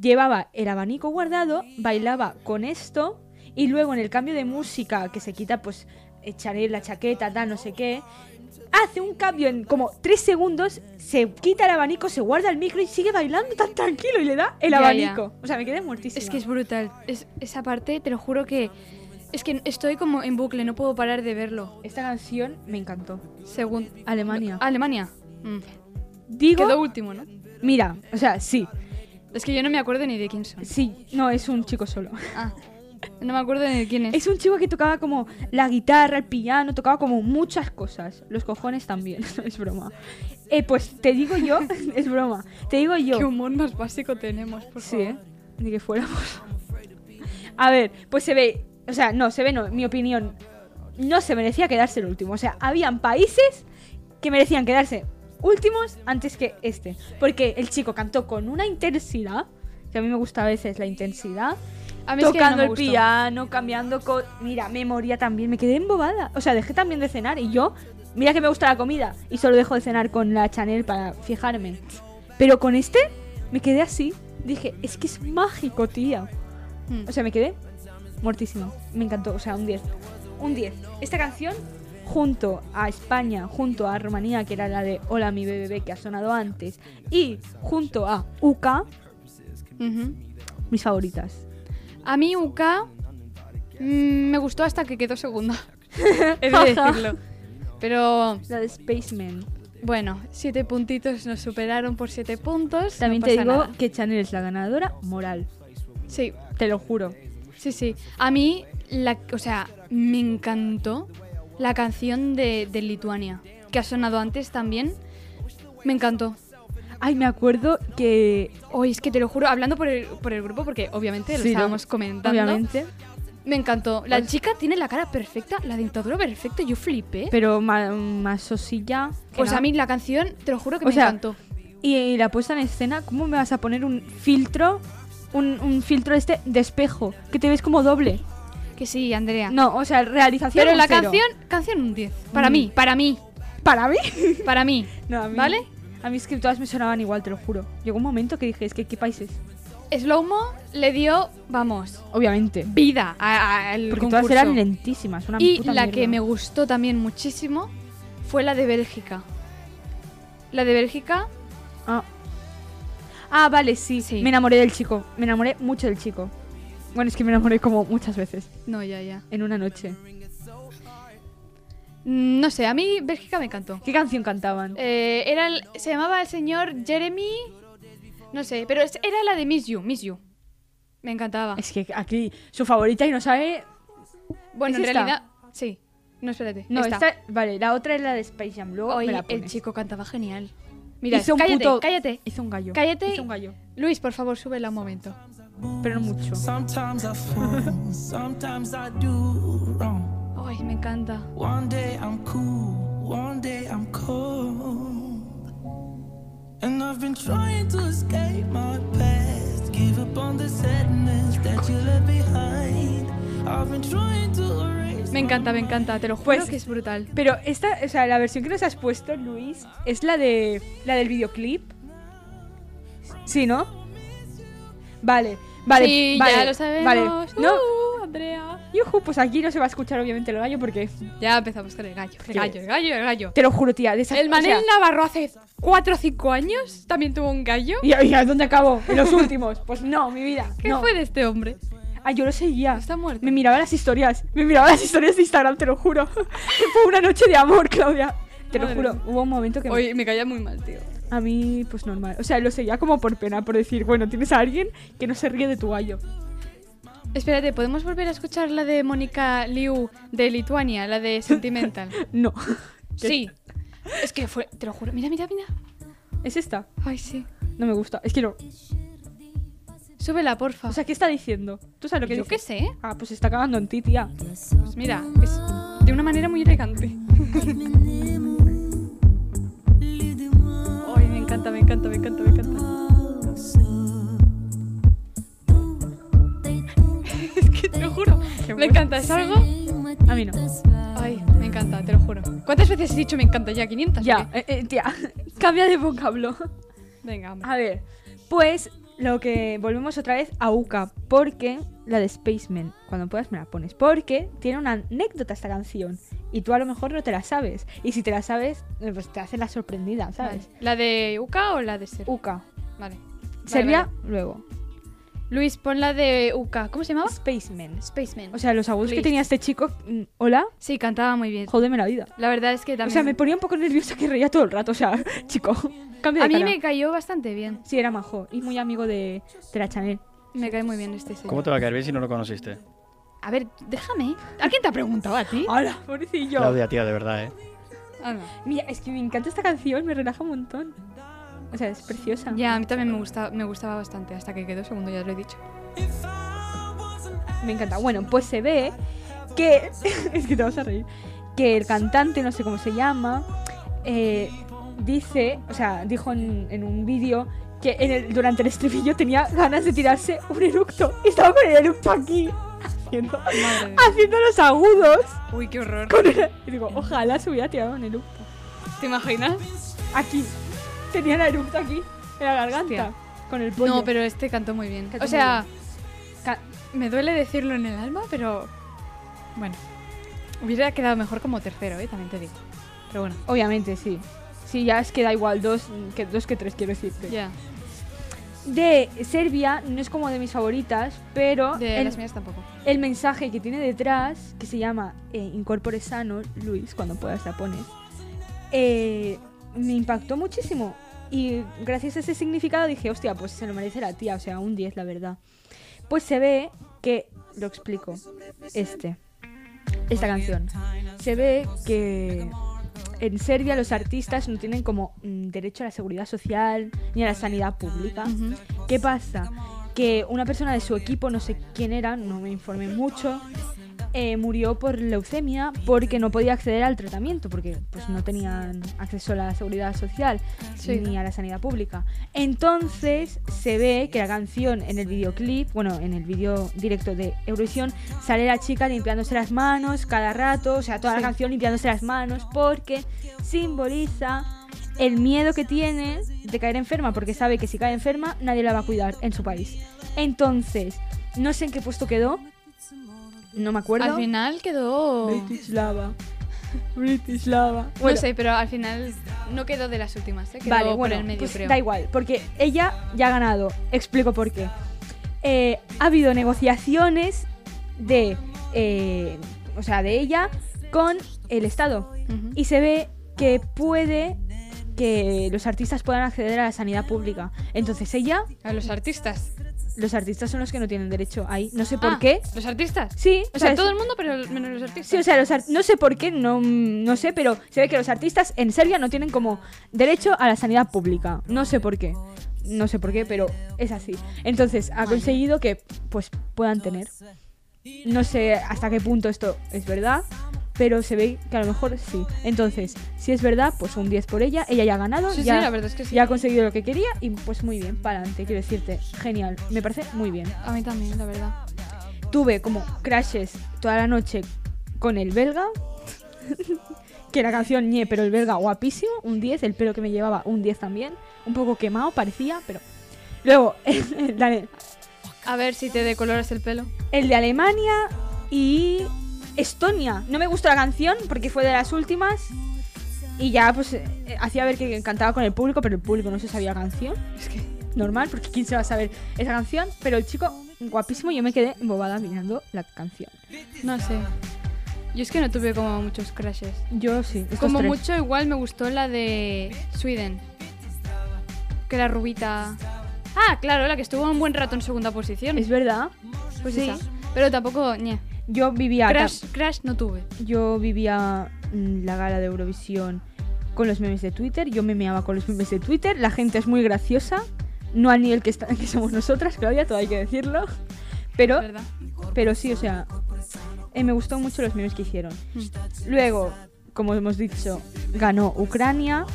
Speaker 1: Llevaba el abanico guardado, bailaba con esto y luego en el cambio de música que se quita pues echaré la chaqueta, tal, no sé qué, hace un cambio en como tres segundos, se quita el abanico, se guarda el micro y sigue bailando tan tranquilo y le da el
Speaker 2: Ya,
Speaker 1: abanico. O sea, me quedé muertísima.
Speaker 2: Es que es brutal. Es- esa parte, te lo juro que. Es que estoy como en bucle, no puedo parar de verlo.
Speaker 1: Esta canción me encantó.
Speaker 2: Según.
Speaker 1: Alemania.
Speaker 2: Alemania. Mm.
Speaker 1: Digo,
Speaker 2: Quedó último, ¿no?
Speaker 1: mira, o sea, sí,
Speaker 2: Es que yo no me acuerdo ni de quién son.
Speaker 1: sí, no, es un chico solo.
Speaker 2: Ah, no me acuerdo ni de quién es.
Speaker 1: Es un chico que tocaba como la guitarra, el piano, tocaba como muchas cosas. Los cojones también, no es broma. Eh, pues te digo yo, es broma. Te digo yo.
Speaker 2: Qué humor más básico tenemos, por
Speaker 1: Sí,
Speaker 2: favor.
Speaker 1: ¿eh? Ni que fuéramos. A ver, pues se ve. O sea, no, se ve, no, mi opinión. No se merecía quedarse el último. O sea, habían países que merecían quedarse últimos antes que este. Porque el chico cantó con una intensidad, que a mí me gusta a veces la intensidad.
Speaker 2: A mí es que no
Speaker 1: tocando
Speaker 2: me
Speaker 1: el
Speaker 2: gustó.
Speaker 1: piano, cambiando co- Mira, memoria también, me quedé embobada. O sea, dejé también de cenar y yo, mira que me gusta la comida y solo dejo de cenar con la Chanel para fijarme. Pero con este me quedé así. Dije, es que es mágico, tía.
Speaker 2: Mm.
Speaker 1: O sea, me quedé mortísima. Me encantó, o sea, un 10. Un 10. Esta canción, junto a España, junto a Rumanía, que era la de Hola mi bebé que ha sonado antes, y junto a UK,
Speaker 2: Ujú.
Speaker 1: mis favoritas.
Speaker 2: A mí UK mm, me gustó hasta que quedó segunda. He de decirlo. Pero
Speaker 1: La de Spaceman.
Speaker 2: bueno, siete puntitos nos superaron por siete puntos. no
Speaker 1: También te
Speaker 2: pasa
Speaker 1: digo
Speaker 2: nada.
Speaker 1: que Chanel es la ganadora moral.
Speaker 2: Sí,
Speaker 1: Te lo juro.
Speaker 2: sí, sí. A mí, la, o sea, me encantó la canción de, de Lituania, que ha sonado antes también. Me encantó.
Speaker 1: Ay, me acuerdo que.
Speaker 2: Oye, es que te lo juro, hablando por el, por el grupo, porque obviamente lo
Speaker 1: Sí, lo-
Speaker 2: estábamos comentando.
Speaker 1: Obviamente.
Speaker 2: Me encantó. La
Speaker 1: Pues
Speaker 2: chica tiene la cara perfecta, la dentadura perfecta, yo flipé.
Speaker 1: Pero ma- más sosilla. que
Speaker 2: pues a
Speaker 1: nada.
Speaker 2: mí la canción, te lo juro que
Speaker 1: O
Speaker 2: me
Speaker 1: sea,
Speaker 2: encantó.
Speaker 1: Y, y la puesta en escena, ¿cómo me vas a poner un filtro? Un, un filtro este de espejo. Que te ves como doble.
Speaker 2: Que sí, Andrea.
Speaker 1: No, o sea, realización.
Speaker 2: Pero
Speaker 1: un
Speaker 2: la
Speaker 1: cero.
Speaker 2: canción, canción un 10. Para
Speaker 1: Mm.
Speaker 2: mí, para mí,
Speaker 1: Para mí.
Speaker 2: para mí.
Speaker 1: No, a mí-
Speaker 2: ¿Vale?
Speaker 1: A mí es que todas me sonaban igual, te lo juro. Llegó un momento que dije, es que qué países.
Speaker 2: Slowmo le dio, vamos,
Speaker 1: Obviamente.
Speaker 2: vida a- a- al
Speaker 1: Porque
Speaker 2: concurso.
Speaker 1: todas eran lentísimas. Una
Speaker 2: y
Speaker 1: puta
Speaker 2: la
Speaker 1: mierda.
Speaker 2: que me gustó también muchísimo fue la de Bélgica. La de Bélgica,
Speaker 1: Ah. Ah, vale, sí.
Speaker 2: Sí.
Speaker 1: Me enamoré del chico. Me enamoré mucho del chico. Bueno, es que me enamoré como muchas veces
Speaker 2: no, ya, ya.
Speaker 1: en una noche.
Speaker 2: Mm, No sé, a mí Bélgica me encantó.
Speaker 1: ¿Qué canción cantaban?
Speaker 2: Eh, era el- se llamaba el señor Jeremy, no sé, pero es- era la de Miss You, Miss You. Me encantaba.
Speaker 1: Es que aquí su favorita y no sabe.
Speaker 2: Bueno,
Speaker 1: ¿es
Speaker 2: en
Speaker 1: esta?
Speaker 2: realidad, sí. No, espérate.
Speaker 1: No,
Speaker 2: esta.
Speaker 1: esta. Vale, la otra es la de Space Jam. Luego
Speaker 2: Hoy
Speaker 1: me la
Speaker 2: el
Speaker 1: pones.
Speaker 2: chico cantaba genial. Mira,
Speaker 1: Hizo un
Speaker 2: cállate,
Speaker 1: puto-
Speaker 2: cállate.
Speaker 1: Hizo un gallo.
Speaker 2: Cállate.
Speaker 1: Hizo un gallo.
Speaker 2: Luis, por favor, súbela un momento.
Speaker 1: Pero no mucho.
Speaker 5: Sometimes I fall, sometimes I do wrong.
Speaker 2: Ay, me encanta.
Speaker 5: One day I'm cool, one day I'm cold. And I've been trying to escape my past, give up on the sadness that you left behind. I've been trying to erase.
Speaker 2: Me encanta, me encanta, te lo juro
Speaker 1: Pues-
Speaker 2: que es brutal.
Speaker 1: Pero esta, o sea, la versión que nos has puesto, Luis, es la de la del videoclip. Sí, ¿no? Vale, vale,
Speaker 2: sí,
Speaker 1: vale.
Speaker 2: ya lo sabemos.
Speaker 1: Vale. No,
Speaker 2: Uh, Andrea.
Speaker 1: Yujú, pues aquí no se va a escuchar obviamente el gallo porque
Speaker 2: Ya empezamos con el gallo, el gallo, el gallo, el gallo.
Speaker 1: te lo juro, tía, de esas-
Speaker 2: El
Speaker 1: o
Speaker 2: Manel
Speaker 1: sea,
Speaker 2: Navarro hace 4 o 5 años también tuvo un gallo.
Speaker 1: y, y a dónde acabó? En los últimos. Pues no, mi vida.
Speaker 2: ¿Qué
Speaker 1: no.
Speaker 2: fue de este hombre?
Speaker 1: Ah, yo lo seguía.
Speaker 2: Está muerto.
Speaker 1: Me miraba las historias. Me miraba las historias de Instagram, te lo juro. Que fue una noche de amor, Claudia. Te
Speaker 2: Madre
Speaker 1: lo juro,
Speaker 2: mía.
Speaker 1: hubo un momento que me-
Speaker 2: Oye, me caía muy mal, tío.
Speaker 1: a mí, pues normal. O sea, lo seguía como por pena, por decir, bueno, tienes a alguien que no se ríe de tu gallo.
Speaker 2: Espérate, ¿podemos volver a escuchar la de Mónica Liu de Lituania, la de Sentimental?
Speaker 1: No.
Speaker 2: sí. Es que fue, te lo juro, mira, mira, mira.
Speaker 1: ¿Es esta?
Speaker 2: Ay, sí.
Speaker 1: No me gusta. Es que no.
Speaker 2: Súbela, porfa.
Speaker 1: O sea, ¿qué está diciendo? ¿Tú sabes lo que
Speaker 2: yo
Speaker 1: dice?
Speaker 2: qué sé. ¿eh?
Speaker 1: Ah, pues está cagando en ti, tía.
Speaker 2: Pues mira, es de una manera muy elegante. Ay, me encanta, me encanta, me encanta, me encanta. es que te lo juro, me encanta, es algo.
Speaker 1: A mí no.
Speaker 2: Ay, me encanta, te lo juro. ¿Cuántas veces he dicho me encanta ya? 500. o
Speaker 1: Ya,
Speaker 2: qué?
Speaker 1: eh, eh, tía. Cambia de vocablo.
Speaker 2: Venga, hombre.
Speaker 1: A ver, pues lo que volvemos otra vez a Uka, porque la de Spaceman, cuando puedas me la pones, porque tiene una anécdota esta canción y tú a lo mejor no te la sabes y si te la sabes, eh, pues te hacen la sorprendida, ¿sabes?
Speaker 2: Vale. ¿La de Uca o la de Serbia?
Speaker 1: Uka,
Speaker 2: Vale.
Speaker 1: Serbia,
Speaker 2: vale.
Speaker 1: luego
Speaker 2: Luis, pon la de Uca. ¿Cómo se llamaba?
Speaker 1: Spaceman.
Speaker 2: Spaceman.
Speaker 1: O sea, los agudos que
Speaker 2: Please.
Speaker 1: tenía este chico, mm, hola,
Speaker 2: sí, cantaba muy bien.
Speaker 1: jódeme la vida.
Speaker 2: La verdad es que
Speaker 1: O
Speaker 2: también.
Speaker 1: sea, me ponía un poco nerviosa que reía todo el rato, o sea, chico, cambia de
Speaker 2: a mí
Speaker 1: cara.
Speaker 2: me cayó bastante bien.
Speaker 1: Sí, era majo y muy amigo de, de la Chanel.
Speaker 2: Me cae muy bien este señor.
Speaker 4: ¿Cómo te va a caer bien si no lo conociste?
Speaker 2: A ver, déjame. ¿A quién te ha preguntado a ti?
Speaker 1: ¡Hola, pobrecillo!
Speaker 4: Claudia, tía, de verdad, ¿eh?
Speaker 2: Ah, no.
Speaker 1: Mira, es que me encanta esta canción, me relaja un montón. O sea, es preciosa.
Speaker 2: Ya, a mí también me, gusta, me gustaba bastante, hasta que quedó segundo, ya os lo he dicho.
Speaker 5: If I wasn't
Speaker 1: Me encanta. Bueno, pues se ve que. es que te vas a reír. Que el cantante, no sé cómo se llama, eh, dice, o sea, dijo en, en un vídeo que en el- durante el estribillo tenía ganas de tirarse un eructo. Y estaba con el eructo aquí, haciendo,
Speaker 2: Madre mía.
Speaker 1: haciendo los agudos.
Speaker 2: Uy, qué horror.
Speaker 1: con el- y digo, ojalá se hubiera tirado un eructo.
Speaker 2: ¿Te imaginas?
Speaker 1: Aquí. Tenía el eructo aquí, en la garganta.
Speaker 2: Hostia.
Speaker 1: Con el pollo.
Speaker 2: No, pero este cantó muy bien.
Speaker 1: Cantó
Speaker 2: O
Speaker 1: muy
Speaker 2: sea, ca- me duele decirlo en el alma, pero bueno. Hubiera quedado mejor como tercero, ¿eh? también te digo. Pero bueno,
Speaker 1: Obviamente, sí. Sí, ya es que da igual, dos que, dos que tres, quiero decirte.
Speaker 2: ya.
Speaker 1: De Serbia, no es como de mis favoritas, pero
Speaker 2: De
Speaker 1: el,
Speaker 2: las mías tampoco.
Speaker 1: el mensaje que tiene detrás, que se llama eh, Incorpore sano, Luis, cuando puedas la pones, eh, me impactó muchísimo. Y gracias a ese significado dije, hostia, pues se lo merece la tía, o sea, un 10, la verdad. Pues se ve que, lo explico, este, esta canción. Se ve que en Serbia los artistas no tienen como mm, derecho a la seguridad social ni a la sanidad pública. ¿Qué pasa? Que una persona de su equipo, no sé quién era, no me informé mucho, eh, murió por leucemia porque no podía acceder al tratamiento, porque pues, no tenían acceso a la seguridad social
Speaker 2: Sí.
Speaker 1: ni a la sanidad pública. Entonces se ve que la canción en el videoclip, bueno, en el vídeo directo de Eurovisión, sale la chica limpiándose las manos cada rato, o sea, toda
Speaker 2: Sí.
Speaker 1: la canción limpiándose las manos porque simboliza el miedo que tiene de caer enferma, porque sabe que si cae enferma nadie la va a cuidar en su país. Entonces, no sé en qué puesto quedó, no me acuerdo.
Speaker 2: Al final quedó.
Speaker 1: British Lava. British Lava.
Speaker 2: no sé, pero al final no quedó de las últimas, ¿eh? Quedó
Speaker 1: vale,
Speaker 2: por
Speaker 1: bueno,
Speaker 2: el medio,
Speaker 1: pues
Speaker 2: creo.
Speaker 1: da igual, porque ella ya ha ganado. Explico por qué. Eh, ha habido negociaciones de, eh, o sea, de ella con el Estado
Speaker 2: Ujú.
Speaker 1: y se ve que puede que los artistas puedan acceder a la sanidad pública. Entonces ella,
Speaker 2: A los artistas.
Speaker 1: los artistas son los que no tienen derecho ahí. No sé por
Speaker 2: Ah,
Speaker 1: qué.
Speaker 2: ¿Los artistas?
Speaker 1: Sí,
Speaker 2: O sea,
Speaker 1: es-
Speaker 2: todo el mundo, pero menos los artistas.
Speaker 1: Sí, o sea, los ar- no sé por qué, no, no sé, pero se ve que los artistas en Serbia no tienen como derecho a la sanidad pública. No sé por qué. No sé por qué, pero es así. Entonces, ha conseguido que pues puedan tener. No sé hasta qué punto esto es verdad, pero se ve que a lo mejor sí. Entonces, si es verdad, pues un 10 por ella. Ella ya ha ganado,
Speaker 2: Sí, sí,
Speaker 1: ya,
Speaker 2: la verdad es que sí.
Speaker 1: ya ha conseguido lo que quería y pues muy bien, para adelante, quiero decirte. Genial, me parece muy bien
Speaker 2: A mí también, la verdad.
Speaker 1: tuve como crashes toda la noche con el belga. que la canción ñe, pero el belga guapísimo, un 10, el pelo que me llevaba un 10 también, un poco quemado parecía, pero luego el de, Ale-
Speaker 2: A ver si te decoloras el pelo.
Speaker 1: el de Alemania y Estonia. No me gustó la canción porque fue de las últimas y ya pues eh, hacía ver que cantaba con el público, pero el público no se sabía la canción
Speaker 2: Es que.
Speaker 1: normal, porque quién se va a saber esa canción, pero el chico guapísimo, yo me quedé embobada mirando la canción.
Speaker 2: No sé. Yo es que no tuve como muchos crashes.
Speaker 1: Yo sí, estos
Speaker 2: Como
Speaker 1: tres.
Speaker 2: mucho igual me gustó la de Sweden. Que la rubita. Ah, claro, la que estuvo un buen rato en segunda posición.
Speaker 1: Es verdad.
Speaker 2: pues
Speaker 1: sí.
Speaker 2: esa. Pero tampoco, ñe.
Speaker 1: Yo vivía
Speaker 2: Crash, crash no tuve.
Speaker 1: yo vivía mm, la gala de Eurovisión con los memes de Twitter, yo memeaba con los memes de Twitter, la gente es muy graciosa, no al nivel que, está- que somos nosotras, Claudia, todo hay que decirlo. Pero,
Speaker 2: ¿Verdad?
Speaker 1: pero sí, o sea, eh, me gustó mucho los memes que hicieron.
Speaker 2: Mm.
Speaker 1: Luego, como hemos dicho, ganó Ucrania.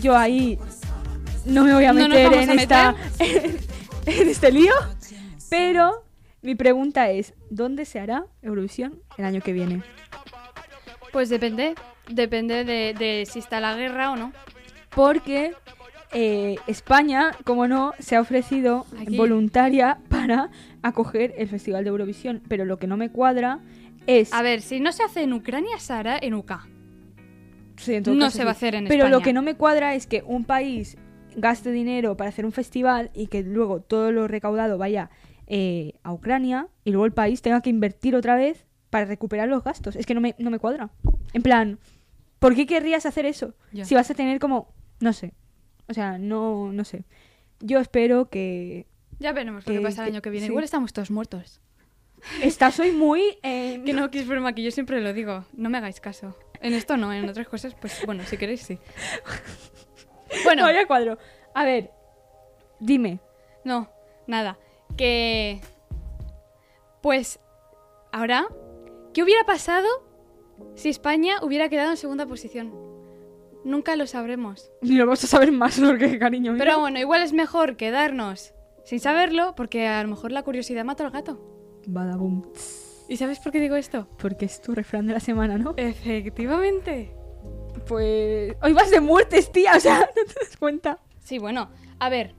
Speaker 1: Yo ahí no me voy a
Speaker 2: No nos
Speaker 1: meter,
Speaker 2: vamos
Speaker 1: en,
Speaker 2: a
Speaker 1: esta, en este lío. Pero mi pregunta es, ¿dónde se hará Eurovisión el año que viene?
Speaker 2: Pues depende. Depende de, de si está la guerra o no.
Speaker 1: Porque eh, España, como no, se ha ofrecido
Speaker 2: Aquí.
Speaker 1: voluntaria para acoger el Festival de Eurovisión. Pero lo que no me cuadra es...
Speaker 2: A ver, si no se hace en Ucrania, se hará en UK.
Speaker 1: Sí, en todo
Speaker 2: No
Speaker 1: caso,
Speaker 2: se
Speaker 1: sí.
Speaker 2: va a hacer en
Speaker 1: Pero
Speaker 2: España.
Speaker 1: lo que no me cuadra es que un país gaste dinero para hacer un festival y que luego todo lo recaudado vaya eh, a Ucrania y luego el país tenga que invertir otra vez para recuperar los gastos. Es que no me, no me cuadra. En plan, ¿por qué querrías hacer eso?
Speaker 2: Ya.
Speaker 1: Si vas a tener como, no sé. O sea, no, no sé. Yo espero que...
Speaker 2: Ya veremos lo que
Speaker 1: Que-
Speaker 2: pasa el año que
Speaker 1: que-
Speaker 2: viene.
Speaker 1: Eh, sí.
Speaker 2: Igual estamos todos muertos.
Speaker 1: Estás hoy muy... eh,
Speaker 2: Que no, que es broma, que yo siempre lo digo. No me hagáis caso. En esto no, en otras cosas, pues bueno, si queréis, sí. Bueno,
Speaker 1: Vaya cuadro. A ver, dime.
Speaker 2: no, nada. Que. Pues Ahora, ¿qué hubiera pasado si España hubiera quedado en segunda posición? Nunca lo sabremos.
Speaker 1: Ni lo vamos a saber más porque, cariño mío.
Speaker 2: Pero bueno, igual es mejor quedarnos sin saberlo porque a lo mejor la curiosidad mata al gato.
Speaker 1: Badaboom.
Speaker 2: ¿Y sabes por qué digo esto?
Speaker 1: Porque es tu refrán de la semana, ¿no?
Speaker 2: Efectivamente.
Speaker 1: Pues. Hoy vas de muertes, tía. O sea, no te das cuenta.
Speaker 2: Sí, bueno, a ver,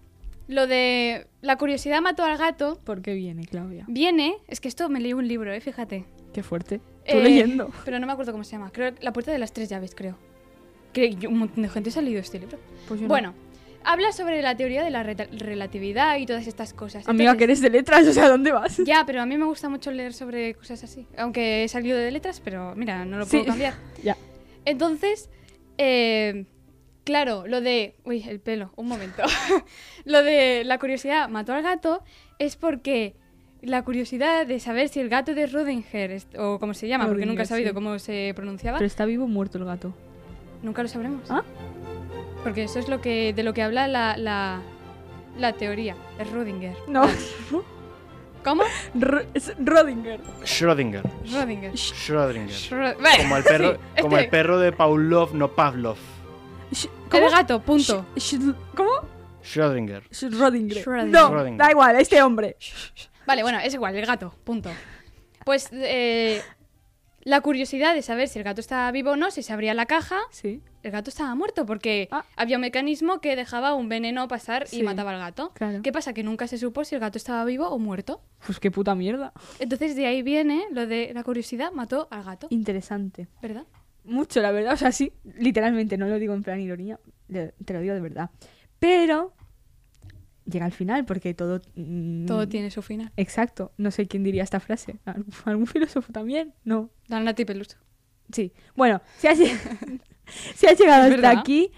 Speaker 2: lo de la curiosidad mató al gato
Speaker 1: ¿Por qué viene, Claudia?
Speaker 2: viene, es que esto me leí un libro, eh, fíjate.
Speaker 1: Qué fuerte. Tú
Speaker 2: Eh,
Speaker 1: leyendo.
Speaker 2: Pero no me acuerdo cómo se llama. Creo La puerta de las tres llaves, creo. Que yo- un montón de gente se ha leído este libro.
Speaker 1: Pues yo no.
Speaker 2: Bueno, habla sobre la teoría de la reta- relatividad y todas estas cosas.
Speaker 1: Amiga, que
Speaker 2: Entonces-
Speaker 1: eres de letras, o sea, ¿dónde vas?
Speaker 2: Ya, pero a mí me gusta mucho leer sobre cosas así. Aunque he salido de letras, pero mira, no lo
Speaker 1: Sí.
Speaker 2: puedo cambiar.
Speaker 1: Ya.
Speaker 2: Entonces, eh, claro, lo de... Uy, el pelo, un momento. lo de la curiosidad mató al gato es porque la curiosidad de saber si el gato de Rodinger, es- o como se llama, porque nunca he
Speaker 1: Schrödinger,
Speaker 2: sabido
Speaker 1: sí.
Speaker 2: cómo se pronunciaba,
Speaker 1: Pero está vivo o muerto el gato.
Speaker 2: nunca lo sabremos.
Speaker 1: ¿Ah?
Speaker 2: Porque eso es lo que de lo que habla la, la, la teoría, es Rodinger.
Speaker 1: No.
Speaker 2: ¿Cómo?
Speaker 1: R- es Rodinger.
Speaker 4: Schrödinger.
Speaker 2: Rodinger.
Speaker 4: Schrödinger.
Speaker 2: Schrö- Vale,
Speaker 4: Como el perro,
Speaker 2: sí, este.
Speaker 4: como el perro de Pavlov, no Pavlov.
Speaker 1: Sh-
Speaker 2: El gato, punto.
Speaker 1: Sh- sh- ¿Cómo?
Speaker 4: Schrödinger.
Speaker 1: Sh- Rodinger.
Speaker 2: Schrödinger.
Speaker 1: No,
Speaker 4: Schrödinger.
Speaker 1: da igual, este hombre.
Speaker 2: Vale, bueno, es igual, el gato, punto. Pues eh, la curiosidad de saber si el gato estaba vivo o no, si se abría la caja,
Speaker 1: Sí,
Speaker 2: el gato estaba muerto porque
Speaker 1: Ah.
Speaker 2: había un mecanismo que dejaba un veneno pasar
Speaker 1: Sí,
Speaker 2: y mataba al gato.
Speaker 1: claro.
Speaker 2: ¿Qué pasa? Que nunca se supo si el gato estaba vivo o muerto.
Speaker 1: Pues qué puta mierda.
Speaker 2: Entonces de ahí viene lo de la curiosidad mató al gato,
Speaker 1: Interesante.
Speaker 2: ¿verdad?
Speaker 1: Mucho, la verdad. O sea, sí, literalmente, no lo digo en plan ironía, de- te lo digo de verdad. Pero llega al final porque todo... mm,
Speaker 2: Todo tiene su final.
Speaker 1: Exacto. No sé quién diría esta frase. ¿Algún, algún filósofo también? No.
Speaker 2: Danati Peluso.
Speaker 1: Sí. Bueno, si has, lle- si has llegado
Speaker 2: Es
Speaker 1: hasta
Speaker 2: verdad.
Speaker 1: aquí,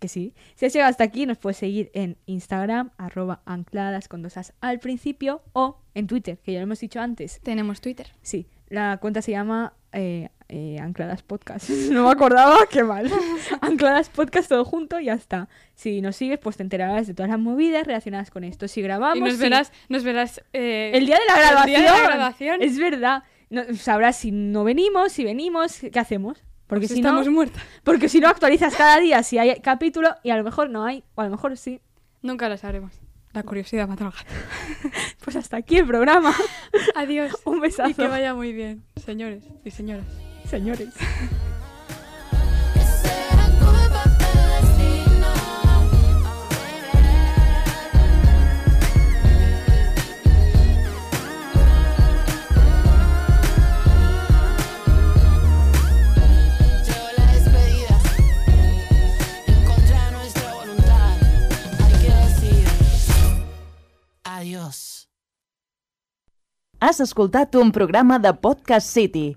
Speaker 1: que sí, si has llegado hasta aquí, nos puedes seguir en Instagram, arroba ancladas con dos as al principio, o en Twitter, que ya lo hemos dicho antes.
Speaker 2: Tenemos Twitter.
Speaker 1: Sí, la cuenta se llama eh, eh, Ancladas Podcast. No me acordaba, qué mal. Ancladas Podcast todo junto y ya está. Si nos sigues, pues te enterarás de todas las movidas relacionadas con esto. Si grabamos...
Speaker 2: y nos
Speaker 1: si-
Speaker 2: verás, nos verás eh,
Speaker 1: El día de la
Speaker 2: el
Speaker 1: grabación.
Speaker 2: día de la grabación.
Speaker 1: Es verdad. No- sabrás si no venimos, si venimos, qué hacemos. Porque
Speaker 2: pues
Speaker 1: si
Speaker 2: estamos
Speaker 1: no,
Speaker 2: muertas.
Speaker 1: porque si no actualizas cada día si hay capítulo y a lo mejor no hay, o a lo mejor sí.
Speaker 2: Nunca lo sabremos. La curiosidad mató al gato.
Speaker 1: Pues hasta aquí el programa.
Speaker 2: Adiós.
Speaker 1: Un
Speaker 2: Y que
Speaker 1: besazo,
Speaker 2: vaya muy bien, señores y señoras.
Speaker 1: señores.
Speaker 6: Llegó la despedida, en contra de nuestra voluntad, hay que decir adiós.
Speaker 7: Has escoltat un programa de Podcast City,